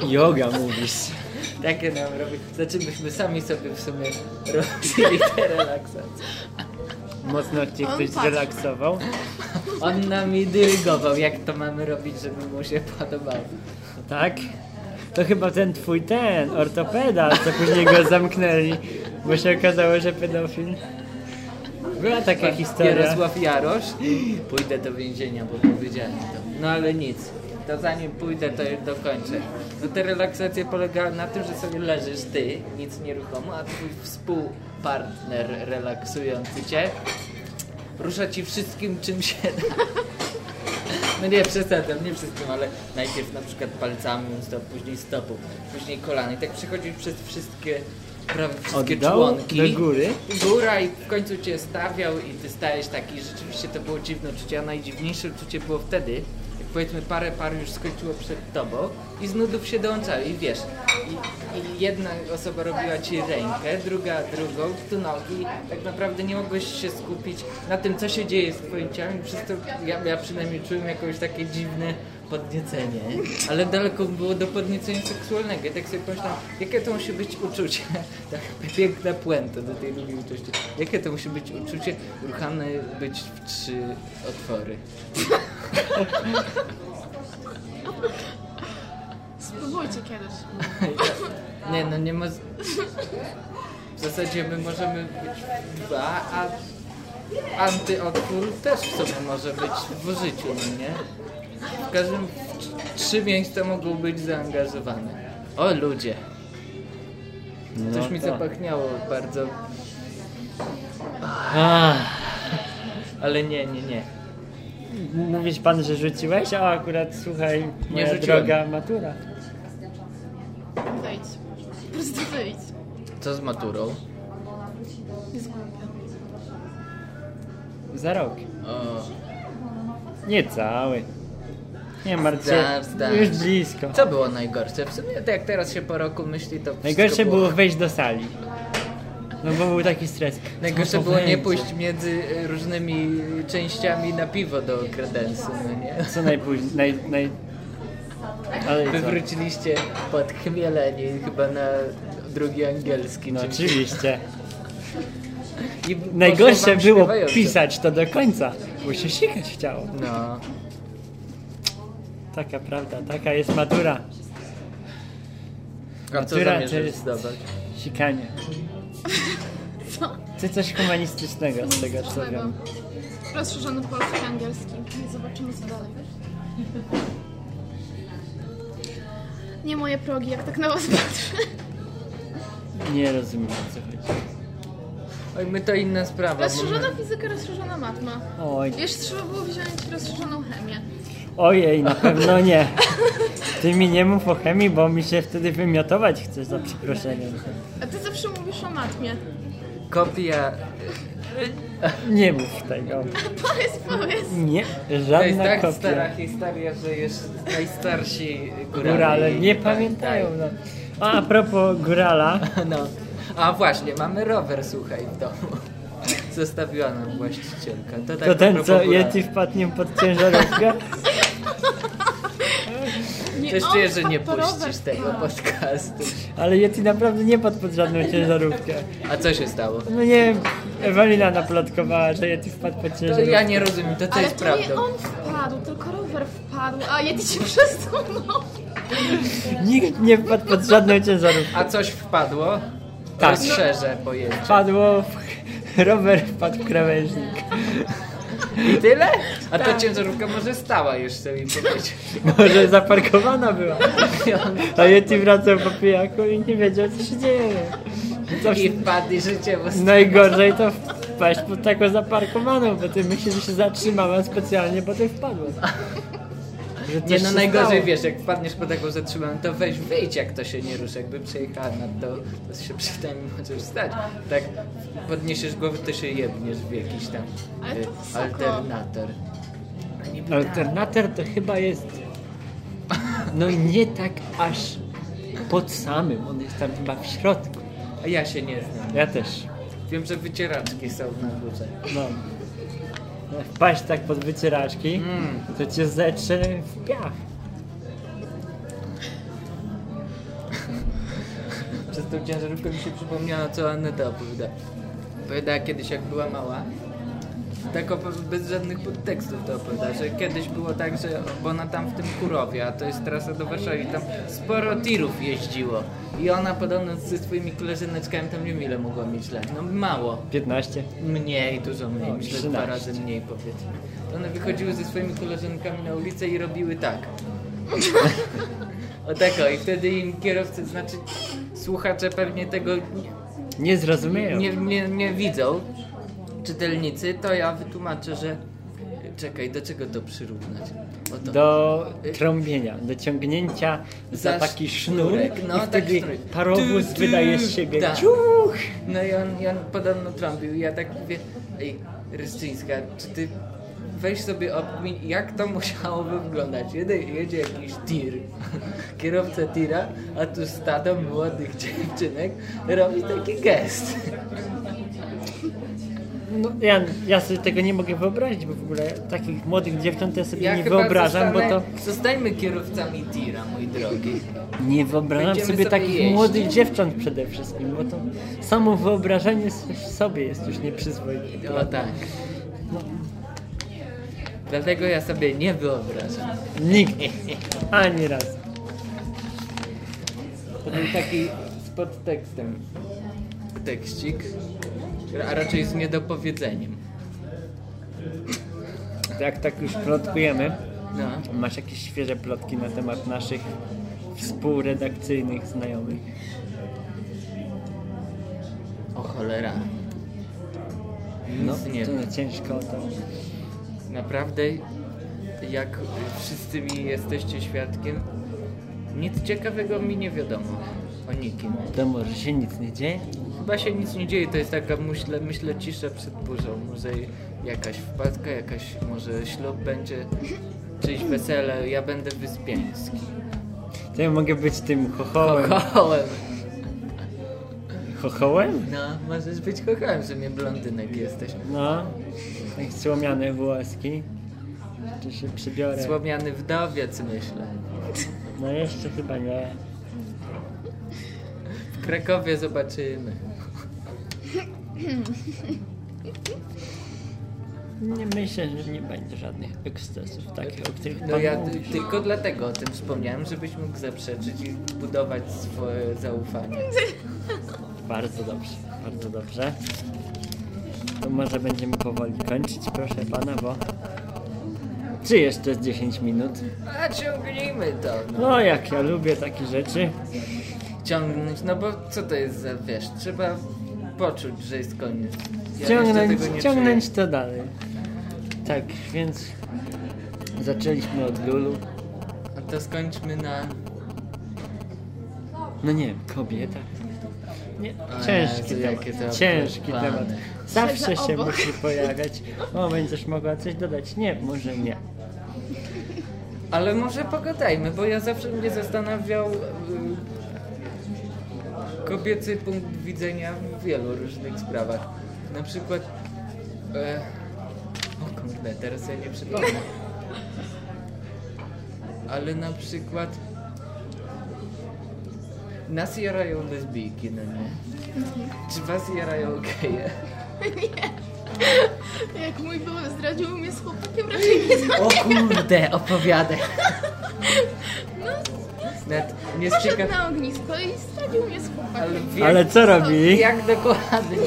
S1: Yoga mówisz.
S2: Takie nam robi. Znaczy myśmy sami sobie w sumie robili <laughs> te relaksacje.
S1: Mocno cię
S3: On
S1: ktoś
S3: patrzy.
S1: zrelaksował.
S2: On nami dyrygował, jak to mamy robić, żeby mu się podobało.
S1: Tak? To chyba ten twój ten, ortopeda, co później go zamknęli, bo się okazało, że pedofil. Była taka historia.
S2: Jarosław Jarosz, pójdę do więzienia, bo powiedziałem to. No ale nic, to zanim pójdę, to już dokończę. No te relaksacje polegały na tym, że sobie leżysz ty, nic nieruchomo, a twój współpartner relaksujący cię rusza ci wszystkim, czym się da. No nie przesadzam, nie wszystkim, ale najpierw na przykład palcami, stop, później stopą, później kolana i tak przechodzisz przez wszystkie, prawie wszystkie
S1: Od dołu
S2: członki.
S1: do góry?
S2: Góra i w końcu cię stawiał i ty stajesz taki, rzeczywiście to było dziwne uczucie, a najdziwniejsze uczucie było wtedy, jak powiedzmy parę par już skończyło przed tobą i z nudów się dołączali, i wiesz, i, i jedna osoba robiła ci rękę, druga drugą, tu nogi, tak naprawdę nie mogłeś się skupić na tym, co się dzieje z twoim ciałem, i przez to ja, ja przynajmniej czułem jakieś takie dziwne podniecenie, ale daleko było do podniecenia seksualnego. I tak sobie pomyślałem, jakie to musi być uczucie, <laughs> tak piękna puenta do tej drugiej uczucia, jakie to musi być uczucie, ruchane być w trzy otwory. <laughs>
S3: Spróbujcie kiedyś.
S2: Nie no, nie ma... z- W zasadzie my możemy być w dwa, a antyotwór też w sobie może być w życiu, no nie? W każdym... tr- Trzy miejsca mogą być zaangażowane. O ludzie! Coś mi
S1: tak.
S2: zapachniało bardzo,
S1: Ach,
S2: ale nie, nie, nie.
S1: Mówisz pan, że rzuciłeś, a akurat słuchaj, moja
S2: rzuciłem.
S1: droga matura.
S3: Wyjdź. Po prostu wyjdź.
S2: Co z maturą?
S3: Jest głupia.
S1: Za rok.
S2: O,
S1: Nie cały. Nie martw się.
S2: Zdar, zdar.
S1: Już blisko.
S2: co było najgorsze? W sumie to jak teraz się po roku myśli, to wszystko
S1: Najgorsze było
S2: było
S1: wejść do sali. No bo był taki stres. Co
S2: Najgorsze
S1: to
S2: było nie
S1: będzie?
S2: pójść między y, różnymi częściami na piwo do kredensu, no nie?
S1: Co najpóźniej? Naj, naj... Ale
S2: Wy
S1: co?
S2: wróciliście podchmieleni chyba na drugi angielski.
S1: No
S2: czy-
S1: oczywiście.
S2: I poszło
S1: Najgorsze
S2: wam
S1: było
S2: śpiewająco.
S1: pisać to do końca, bo się sikać chciało.
S2: No,
S1: Taka prawda, taka jest matura.
S2: a co
S1: Matura to
S2: zamierzasz
S1: jest-
S2: zdobyć?
S1: Sikanie.
S3: Co?
S1: Ty coś humanistycznego z tego co wiem.
S3: Rozszerzony polski i angielski. Zobaczymy co dalej. Nie moje progi, jak tak na was patrzę.
S1: Nie rozumiem o co chodzi.
S2: Oj, my to inna sprawa. bo my-
S3: Rozszerzona fizyka, rozszerzona matma.
S1: Oj.
S3: Wiesz, trzeba było wziąć rozszerzoną chemię.
S1: Ojej, na pewno nie. Ty mi nie mów o chemii, bo mi się wtedy wymiotować chcesz za przeproszeniem.
S3: A ty zawsze mówisz o matmie.
S2: Kopia...
S1: Nie mów tego.
S3: Powiedz, powiedz.
S1: Nie,
S2: To jest
S1: żadna
S2: tak
S1: kopia.
S2: stara historia, że już najstarsi górale...
S1: Górale nie
S2: tak,
S1: pamiętają.
S2: tak.
S1: No. A, a propos górala,
S2: <laughs> No. A właśnie, mamy rower, słuchaj, w domu. <laughs> Zostawiła nam właścicielka. To, tak
S1: to
S2: a
S1: ten
S2: propos
S1: co
S2: góra.
S1: Yeti wpadł nim pod ciężarówkę.
S3: Nie
S2: Cieszę,
S3: on,
S2: że nie
S3: papierowe.
S2: puścisz tego podcastu.
S1: Ale Yeti naprawdę nie padł pod żadną ciężarówkę.
S2: A co się stało?
S1: No nie, Ewelina naplotkowała, że Yeti wpadł pod
S2: To
S1: ciężarówkę.
S2: ja nie rozumiem, to co
S3: Ale
S2: jest
S3: to
S2: prawdą.
S3: nie on wpadł, tylko rower wpadł, a Yeti cię przesunął.
S1: Nikt nie wpadł pod żadną ciężarówkę.
S2: A coś wpadło?
S1: Tak.
S2: Tak. Szerze pojęcie.
S1: Wpadło w... Rower wpadł w krawężnik.
S2: I tyle? A
S3: Tak.
S2: ta ciężarówka może stała już sobie powiedzieć.
S1: <laughs> Może zaparkowana była. A Yeti wracał po pijaku i nie wiedział co się dzieje. Zawsze
S2: I wpadł i życie bo
S1: No Najgorzej to wpaść pod taką zaparkowaną, bo ty myślisz, że się zatrzymałem specjalnie, bo ty wpadłem. Że coś
S2: Nie no
S1: się
S2: najgorzej
S1: stało.
S2: wiesz, jak wpadniesz po taką zatrzymaną, to weź wyjdź jak to się nie ruszy, jakby przejechała nad to, to się przynajmniej możesz stać. Tak podniesiesz głowę, to się jebniesz w jakiś tam
S3: Ale to
S2: y,
S3: wysoko.
S2: alternator. No niby tak.
S1: Alternator to chyba jest. No nie tak aż pod samym, on jest tam chyba w środku.
S2: A ja się nie znam.
S1: Ja też.
S2: Wiem, że wycieraczki są na górze.
S1: No. Wpaść tak pod wycieraczki,
S2: Mm.
S1: to cię zetrze w piach.
S2: Przez tą ciężarówkę mi się przypomniało, co Aneta opowiada. Opowiadała kiedyś, jak była mała, tak opo- bez żadnych podtekstów to opowiada, że kiedyś było tak, że bo ona tam w tym Kurowie, a to jest trasa do Warszawy i tam sporo tirów jeździło. I ona podobno ze swoimi koleżyneczkami tam nie wiem ile mogła mieć lat, no mało.
S1: 15.
S2: Mniej, dużo mniej,
S1: No,
S2: myślę dwa
S1: 13.
S2: razy mniej powiedzmy. To one wychodziły ze swoimi koleżankami na ulicę i robiły tak. o tak o, i wtedy im kierowcy, znaczy słuchacze pewnie tego
S1: Nie zrozumieją.
S2: nie, nie, nie widzą, czytelnicy, to ja wytłumaczę, że... Czekaj, do czego to przyrównać? Oto.
S1: Do trąbienia, do ciągnięcia za,
S2: Za
S1: taki
S2: sznurek,
S1: sznurek,
S2: no,
S1: i
S2: tak
S1: wtedy
S2: sznurek.
S1: parowóz
S2: Tu, tu,
S1: wydaje z siebie
S2: tak.
S1: ciuch.
S2: No i on, i on podobno trąbił i ja tak mówię, ej, Ryszczyńska, czy ty weź sobie opmin, jak to musiałoby wyglądać? Jedzie, jedzie jakiś tir, <laughs> kierowca tira, a tu stado młodych <laughs> dziewczynek robi taki gest.
S1: No, ja, ja sobie tego nie mogę wyobrazić, bo w ogóle takich młodych dziewcząt to ja sobie
S2: Ja
S1: nie
S2: chyba
S1: wyobrażam, bo to
S2: zostanę- Zostańmy kierowcami tira, mój drogi.
S1: nie wyobrażam
S2: Będziemy
S1: sobie
S2: sobie
S1: takich
S2: jeść.
S1: młodych dziewcząt przede wszystkim, bo to samo wyobrażenie s- w sobie jest już nieprzyzwoite.
S2: O tak. Dlatego ja sobie nie wyobrażam.
S1: Nigdy. Ani raz.
S2: To był taki z podtekstem tekstik, a raczej z niedopowiedzeniem.
S1: Jak tak już plotkujemy,
S2: No,
S1: masz jakieś świeże plotki na temat naszych współredakcyjnych znajomych?
S2: o cholera.
S1: No,
S2: Nic nie wiem.
S1: to ciężko o to.
S2: Naprawdę, jak wszyscy mi jesteście świadkiem, nic ciekawego mi nie wiadomo o nikim.
S1: To może się nic nie dzieje?
S2: Chyba się nic nie dzieje, to jest taka, myślę, myślę cisza przed burzą. Może jakaś wpadka, jakaś, może ślub będzie, czyjeś wesele, ja będę wyspiański.
S1: To ja mogę być tym chochołem.
S2: Kochałem.
S1: Chochołem?
S2: No, możesz być kochałem, że mnie blondynek jesteś.
S1: No. Tak słomiane włoski. Jeszcze się przybiorę.
S2: Słomiany wdowiec, myślę.
S1: No jeszcze chyba nie.
S2: W Krakowie zobaczymy.
S1: Nie myślę, że nie będzie żadnych ekscesów takich, o których
S2: No
S1: pan
S2: ja
S1: mówi.
S2: ty, tylko dlatego o tym wspomniałem, żebyś mógł zaprzeczyć i budować swoje zaufanie.
S1: Bardzo dobrze, bardzo dobrze. To może będziemy powoli kończyć, proszę pana, bo... Czy jeszcze jest 10 minut?
S2: A ciągnijmy to, no.
S1: No jak ja lubię takie rzeczy.
S2: Ciągnąć, no bo co to jest za, wiesz, trzeba poczuć, że jest koniec. Ja
S1: ciągnąć,
S2: jeszcze tego nie
S1: ciągnąć to dalej. Tak, więc zaczęliśmy od Lulu.
S2: czuję. A to skończmy na...
S1: No nie, kobieta. Nie,
S2: O
S1: ciężki
S2: Jezu, jakie to
S1: temat. Ciężki
S2: opłakane.
S1: temat. Zawsze
S3: Siedzę
S1: się
S3: obok.
S1: musi pojawiać. O, będziesz mogła coś dodać. Nie, może nie.
S2: Ale może pogadajmy, bo ja zawsze mnie zastanawiał y, kobiecy punkt widzenia w wielu różnych sprawach. Na przykład... E, o kurde, teraz sobie nie przypomnę. Ale na przykład... Nas jarają lesbijki, no nie? Czy was jarają geje?
S3: Jak mój były zdradził mnie z chłopakiem, raczej nie
S2: O kurde, opowiadaj!
S3: No,
S2: Nawet nie z
S3: poszedł
S2: ciekaw...
S3: na ognisko i zdradził mnie z
S2: Ale,
S3: chłopakiem.
S2: w jak-
S1: Ale co robi?
S2: Jak dokładnie?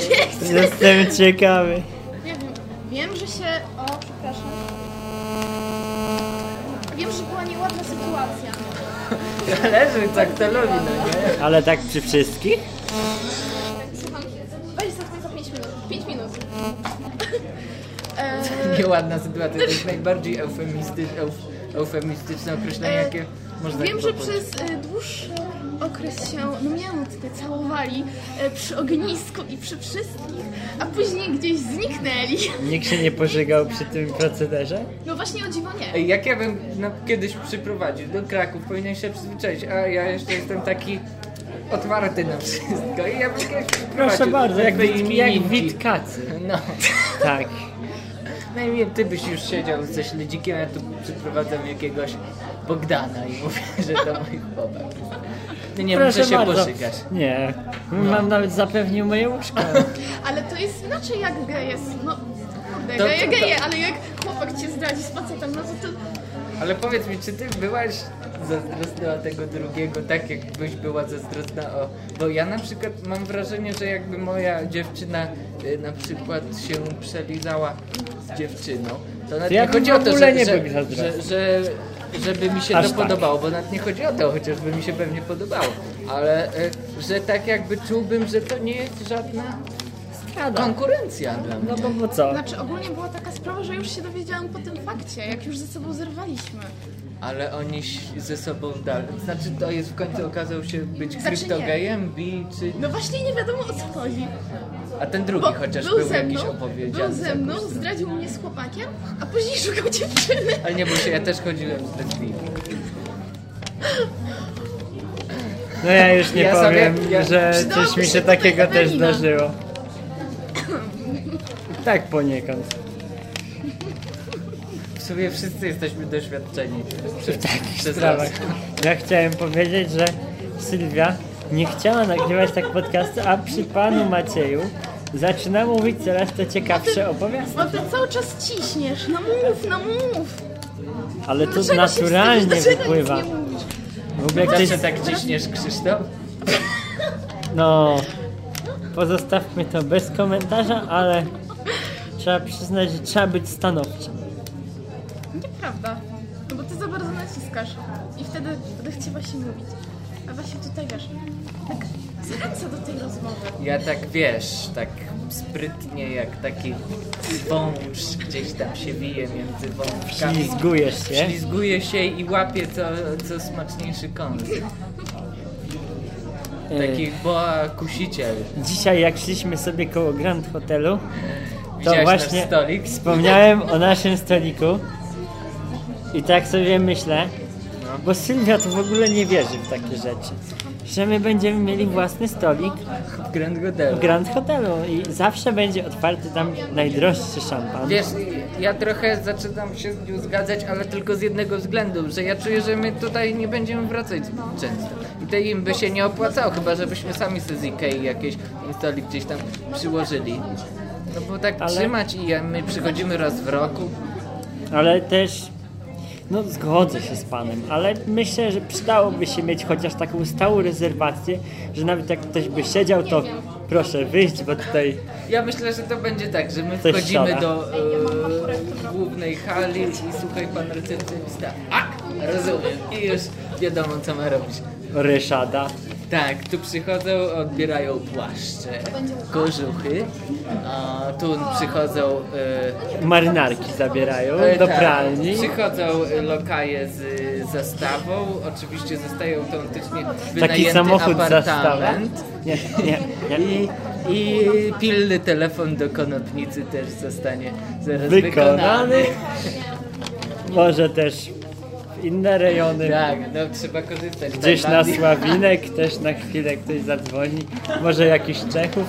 S1: Jestem ciekawy.
S3: Nie wiem, wiem, że się... O, przepraszam. Wiem, że była nieładna sytuacja.
S2: Zależy co kto lubi, no nie?
S1: Ale tak przy wszystkich?
S3: Słucham, weź zadzwoń za 5 minut. 5 minut. <laughs> Eee,
S2: Nieładna sytuacja, to jest najbardziej eufemisty, euf, eufemistyczne określenie,
S3: E,
S2: jakie można tak
S3: Wiem, że
S2: popaść.
S3: przez y, dłuższy okres się, no miałam tutaj, całowali y, przy ognisku i przy wszystkich, a później gdzieś zniknęli.
S1: Nikt się nie pożygał przy tym procederze?
S3: No właśnie o dziwo nie.
S2: Ej, Jak ja bym no, kiedyś przyprowadził do Kraków, powinien się przyzwyczaić, a ja jeszcze jestem taki otwarty na wszystko i ja bym kiedyś przyprowadził.
S1: Proszę bardzo, jak,
S2: do
S1: wit, jak
S2: imieninki.
S1: witkacy.
S2: No,
S1: Tak.
S2: najmniej No ty byś już siedział ze śledzikiem, a ja tu przyprowadzam jakiegoś Bogdana i mówię, że to mój chłopak. Ty nie
S1: Proszę
S2: muszę się
S1: bardzo.
S2: poszykać.
S1: Nie.
S3: No. <laughs>
S1: Mam nawet zapewnił moje łóżko.
S3: Ale to jest inaczej jak geje. No, kurde,
S2: To-
S3: geje,
S2: to-
S3: geje, ale jak chłopak cię zdradzi z facetem, no to, to
S2: Ale powiedz mi, czy ty byłaś zazdrosna o tego drugiego, tak jakbyś była zazdrosna o... Bo ja na przykład mam wrażenie, że jakby moja dziewczyna y, na przykład się przelizała z dziewczyną, to nawet
S1: To ja
S2: nie
S1: bym
S2: chodzi
S1: w
S2: o to,
S1: ogóle
S2: że,
S1: nie
S2: że,
S1: był
S2: że,
S1: zazdrosny.
S2: że żeby mi się
S1: Aż
S2: to
S1: tak.
S2: podobało, bo nawet nie chodzi o to, chociażby mi się pewnie podobało, ale y, że tak jakby czułbym, że to nie jest żadna konkurencja dla mnie.
S1: No bo, bo co?
S3: znaczy ogólnie była taka sprawa, że już się dowiedziałam po tym fakcie, jak już ze sobą zerwaliśmy.
S2: Ale oni ś- ze sobą dalej. Znaczy to jest w końcu okazał się być
S3: Znaczy nie.
S2: kryptogejem, bi czy.
S3: No właśnie nie wiadomo o co chodzi.
S2: A ten drugi
S3: Bo
S2: chociaż
S3: był,
S2: był,
S3: ze mną,
S2: jakiś opowiedziany.
S3: był
S2: z
S3: ze
S2: jakąś
S3: mną,
S2: stroną.
S3: zdradził mnie z chłopakiem, a później szukał dziewczyny.
S2: Ale nie bój się, ja też chodziłem z lesbijką.
S1: No ja już nie
S2: Ja
S1: powiem,
S2: sobie- ja-
S1: że
S3: Przydałaby
S1: coś mi
S3: się
S1: się
S3: tutaj
S1: takiego też
S3: Ewelina.
S1: zdarzyło. Tak poniekąd.
S2: W sumie wszyscy jesteśmy doświadczeni. Przy, przez
S1: sprawach.
S2: nas.
S1: Ja chciałem powiedzieć, że Sylwia nie chciała nagrywać tak podcastu, a przy panu Macieju zaczyna mówić coraz to ciekawsze opowiastki.
S3: Bo ty No cały czas ciśniesz, no mów, no mów.
S1: Ale
S3: No
S1: to
S3: dlaczego się
S1: naturalnie
S3: wstydzisz? Dlaczego
S1: wypływa.
S3: nic nie mówisz?
S1: W ogóle ktoś...
S2: Zawsze tak ciśniesz Krzysztof?
S1: No... Pozostawmy to bez komentarza, ale trzeba przyznać, że trzeba być stanowczym.
S3: Nieprawda. No bo ty za bardzo naciskasz. I wtedy odechciewa się mówić. A właśnie tutaj wiesz, tak zachęca do tej rozmowy.
S2: Ja tak wiesz, tak sprytnie jak taki wąż gdzieś tam się wije między wątkami.
S1: Ślizgujesz się.
S2: Ślizguje się i łapie co, co smaczniejszy kąs. Taki boa kusiciel.
S1: E, Dzisiaj jak szliśmy sobie koło Grand Hotelu, to
S2: Widziałeś
S1: właśnie
S2: nasz stolik?
S1: wspomniałem o naszym stoliku i tak sobie myślę, bo Sylwia to w ogóle nie wierzy w takie rzeczy, że my będziemy mieli własny stolik
S2: W Grand Hotelu.
S1: w Grand Hotelu i zawsze będzie otwarty tam najdroższy szampan.
S2: Wiesz, ja trochę zaczynam się z nią zgadzać, ale tylko z jednego względu, że ja czuję, że my tutaj nie będziemy wracać zbyt często. I to im by się nie opłacało, chyba żebyśmy sami sobie z Ikei jakieś instali gdzieś tam przyłożyli. No bo tak
S1: Ale-
S2: trzymać i ja- my przychodzimy raz w roku.
S1: Ale też, no zgodzę się z panem, ale myślę, że przydałoby się mieć chociaż taką stałą rezerwację, że nawet jak ktoś by siedział, to proszę wyjść, bo tutaj
S2: Ja myślę, że to będzie tak, że my
S1: Coś
S2: wchodzimy
S1: szara.
S2: do e, głównej hali i słuchaj pan recepcjonista. A, rozumiem. I już wiadomo co ma robić.
S1: ryszada.
S2: Tak, tu przychodzą, odbierają płaszcze, kożuchy, a tu przychodzą e,
S1: marynarki zabierają
S2: e,
S1: do
S2: tak,
S1: pralni.
S2: Przychodzą e, lokaje z e, zastawą, oczywiście zostają autentycznie
S1: Taki
S2: wynajęty
S1: samochód zastawa.
S2: apartament.
S1: Nie, nie, nie.
S2: I, I pilny telefon do konopnicy też zostanie zaraz
S1: Wykonany.
S2: wykonany.
S1: Może też w inne rejony.
S2: Tak, no trzeba korzystać. Tak,
S1: Gdzieś na
S2: Tajlandii.
S1: Sławinek też na chwilę ktoś zadzwoni. Może jakiś Czechów.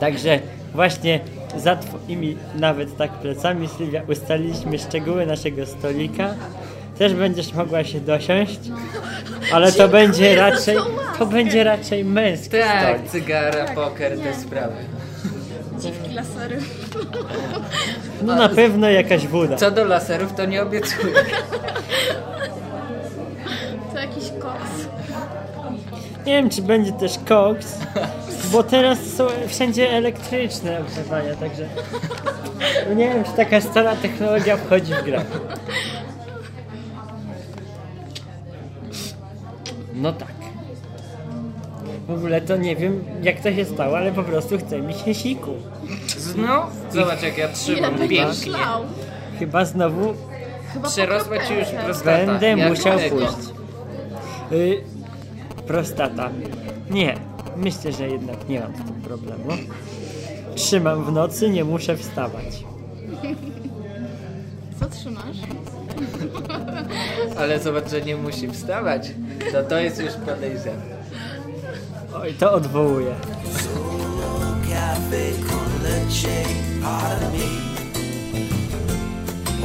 S1: Także właśnie za twoimi nawet tak plecami Sylwia ustaliliśmy szczegóły naszego stolika. Też będziesz mogła się dosiąść, ale to
S3: Dziękuję
S1: będzie
S3: za tą
S1: raczej to
S3: łaskę.
S1: będzie raczej męski
S2: Tak,
S1: stolik.
S2: cygara, poker, te sprawy.
S3: Dziwki lasery. <laughs>
S1: No na pewno jakaś woda.
S2: Co do laserów, to nie obiecuję.
S3: To jakiś koks.
S1: Nie wiem, czy będzie też koks, bo teraz są wszędzie elektryczne ogrzewania, także no nie wiem, czy taka stara technologia wchodzi w grę. No tak. W ogóle to nie wiem, jak to się stało, ale po prostu chce mi się siku.
S2: Znów? Zobacz jak ja
S3: Ile
S2: trzymam
S3: będzie
S2: pięknie.
S3: szlał.
S1: Chyba znowu
S3: Chyba
S2: Przerosła ci już
S3: po
S2: prostata.
S1: będę
S2: jak
S1: musiał
S2: tego.
S1: pójść. Y, prostata. Nie, myślę, że jednak nie mam z tym problemu. Trzymam w nocy, nie muszę wstawać.
S3: Co trzymasz?
S2: Ale zobacz, że nie musi wstawać. To to jest już podejrzane.
S1: Oj, to odwołuję.
S4: Cafe con leche, pardon me.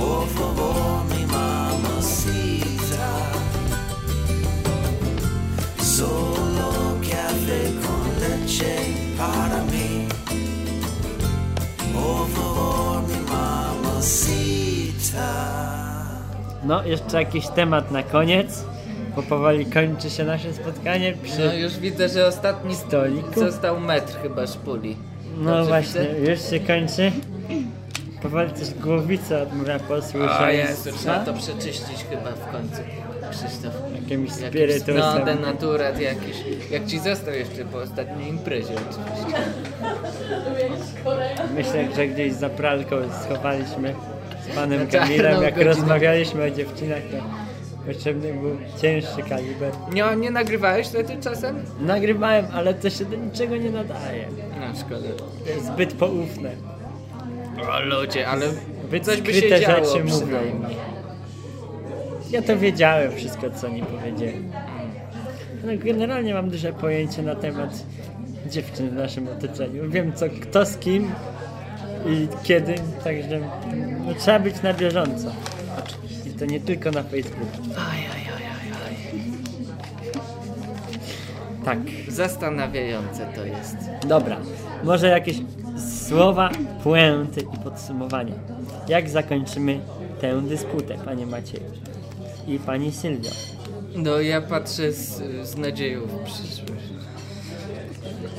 S4: Por favor, mi mamacita. Solo cafe con leche, pardon me.
S1: No, jeszcze jakiś temat na koniec, bo powoli kończy się nasze spotkanie
S2: No
S1: przy...
S2: już widzę, że ostatni
S1: Stoliku?
S2: został metr chyba szpuli.
S1: No
S2: Dobrze
S1: właśnie,
S2: widzę?
S1: już się kończy. Powoli też głowica odmawia
S2: O Jezu, trzeba
S1: posłuszeństwa.
S2: to przeczyścić chyba w końcu, Krzysztof.
S1: Jakimś
S2: Jakiś no,
S1: spirytusem.
S2: denaturat jakiś. Jak ci został jeszcze po ostatniej imprezie oczywiście.
S1: Myślę, że gdzieś za pralką schowaliśmy z panem
S2: Na czarną
S1: Kamilem, jak
S2: godzinę.
S1: rozmawialiśmy o dziewczynach, to potrzebny był cięższy kaliber.
S2: Nie, nie nagrywałeś wtedy czasem?
S1: Nagrywałem, ale to się do niczego nie nadaje.
S2: No szkoda.
S1: To jest zbyt poufne.
S2: O ludzie, ale
S1: Wy
S2: coś by
S1: skryte
S2: się działo
S1: rzeczy mówią.
S2: przynajmniej.
S1: Ja to wiedziałem wszystko, co nie powiedziałem. No, generalnie mam duże pojęcie na temat dziewczyn w naszym otoczeniu. Wiem co, kto z kim i kiedy, także no, trzeba być na bieżąco. I to nie tylko na Facebooku.
S2: Aj, aj, aj, aj, aj.
S1: Tak,
S2: Zastanawiające to jest.
S1: dobra. Może jakieś słowa, puenty i podsumowanie. Jak zakończymy tę dysputę, panie Macieju i pani Sylwio?
S2: No ja patrzę z, z nadzieją w przyszłość.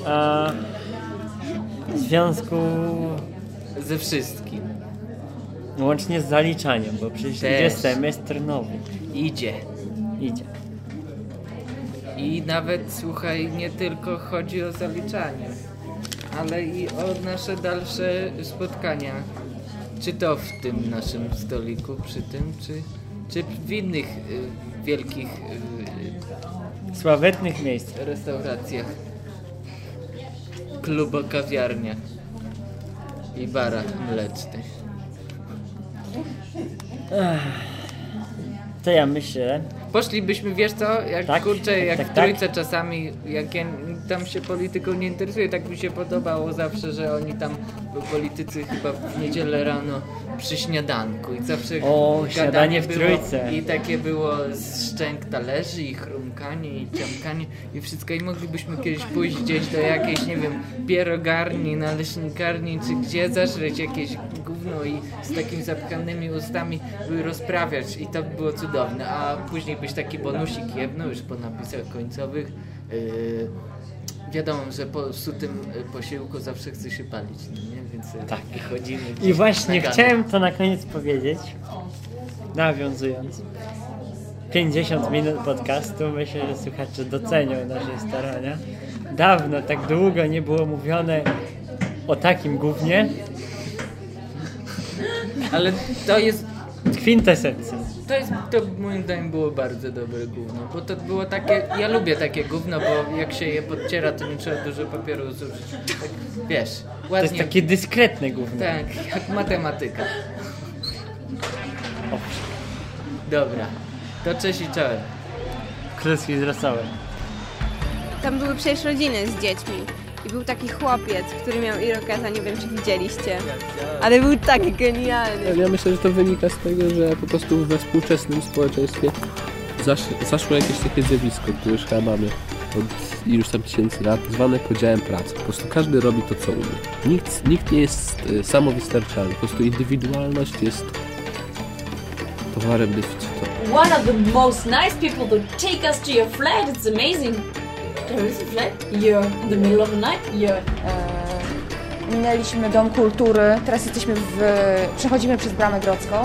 S1: A w związku
S2: Ze wszystkim.
S1: łącznie z zaliczaniem, bo przecież
S2: Też.
S1: idzie semestr nowy.
S2: Idzie.
S1: Idzie.
S2: I nawet, słuchaj, nie tylko chodzi o zaliczanie, ale i o nasze dalsze spotkania. Czy to w tym naszym stoliku, przy tym, czy, czy w innych y, wielkich
S1: W sławetnych miejscach.
S2: y, restauracjach, klubokawiarniach i barach mlecznych.
S1: To ja myślę,
S2: Poszlibyśmy, wiesz co, jak
S1: Tak,
S2: kurczę,
S1: tak,
S2: jak
S1: tak,
S2: w trójce czasami, jak ja tam się polityką nie interesuje, tak mi się podobało zawsze, że oni tam, bo politycy chyba w niedzielę rano przy śniadanku i zawsze
S1: O,
S2: gadanie
S1: śniadanie w
S2: było
S1: Trójce.
S2: I takie było z szczęk talerzy i chrumkanie i ciamkanie i wszystko i moglibyśmy kiedyś pójść gdzieś do jakiejś, nie wiem, pierogarni, naleśnikarni czy gdzie zażreć jakieś gówno i z takimi zapchanymi ustami rozprawiać i to było cudowne, a później byś taki bonusik jedno już po napisach końcowych. Yy, wiadomo, że po sutym y, posiłku zawsze chce się palić, no nie? Więc y,
S1: Tak.
S2: chodzimy.
S1: I
S2: gdzieś
S1: właśnie
S2: na gany.
S1: chciałem to na koniec powiedzieć, nawiązując. 50 minut podcastu, myślę, że słuchacze docenią nasze starania. Dawno, tak długo nie było mówione o takim głównie.
S2: Ale to jest
S1: Kwintesencja.
S2: To jest, to moim zdaniem było bardzo dobre gówno, bo to było takie, ja lubię takie gówno, bo jak się je podciera, to nie trzeba dużo papieru zużyć. Tak, wiesz,
S1: To
S2: ładnie.
S1: jest takie dyskretne głównie.
S2: Tak, jak matematyka.
S1: O.
S2: Dobra, to cześć i czołem.
S1: Kluski z rosołem.
S5: Tam były przecież rodziny z dziećmi. I był taki chłopiec, który miał irokeza, nie wiem czy widzieliście. Ale był tak genialny.
S6: Ja myślę, że to wynika z tego, że po prostu we współczesnym społeczeństwie zasz, zaszło jakieś takie zjawisko, które już chyba mamy od iluś tam tysięcy lat, zwane podziałem pracy. Po prostu każdy robi to, co umie. Nikt, nikt nie jest e, samowystarczalny. Po prostu indywidualność jest towarem deficytu.
S7: one of the most nice people to take us to your flat. It's amazing. There is a flat? Yeah. In the middle of the night? Yeah.
S8: E, Minęliśmy Dom Kultury, teraz jesteśmy w... przechodzimy przez Bramę Grodzką.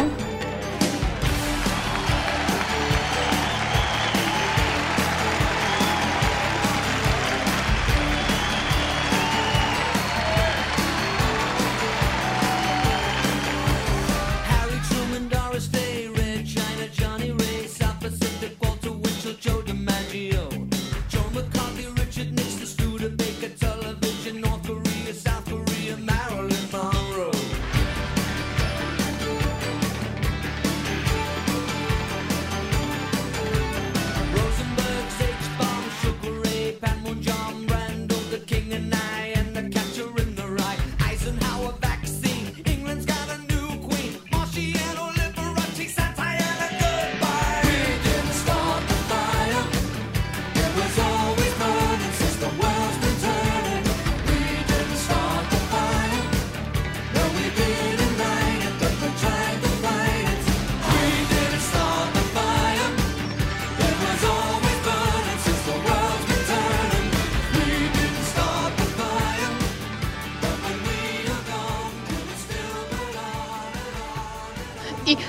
S4: Harry Truman, Doris Day, Red China, Johnny Ray, South Pacific, Walter Winchell, Joe DiMaggio, Joe McCarthy, Richard Nixon, Studebaker, Television, North Korea, South Korea, Marilyn Monroe.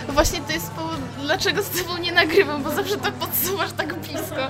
S3: Właśnie to jest powód, dlaczego z tobą nie nagrywam, bo zawsze to podsuwasz tak blisko.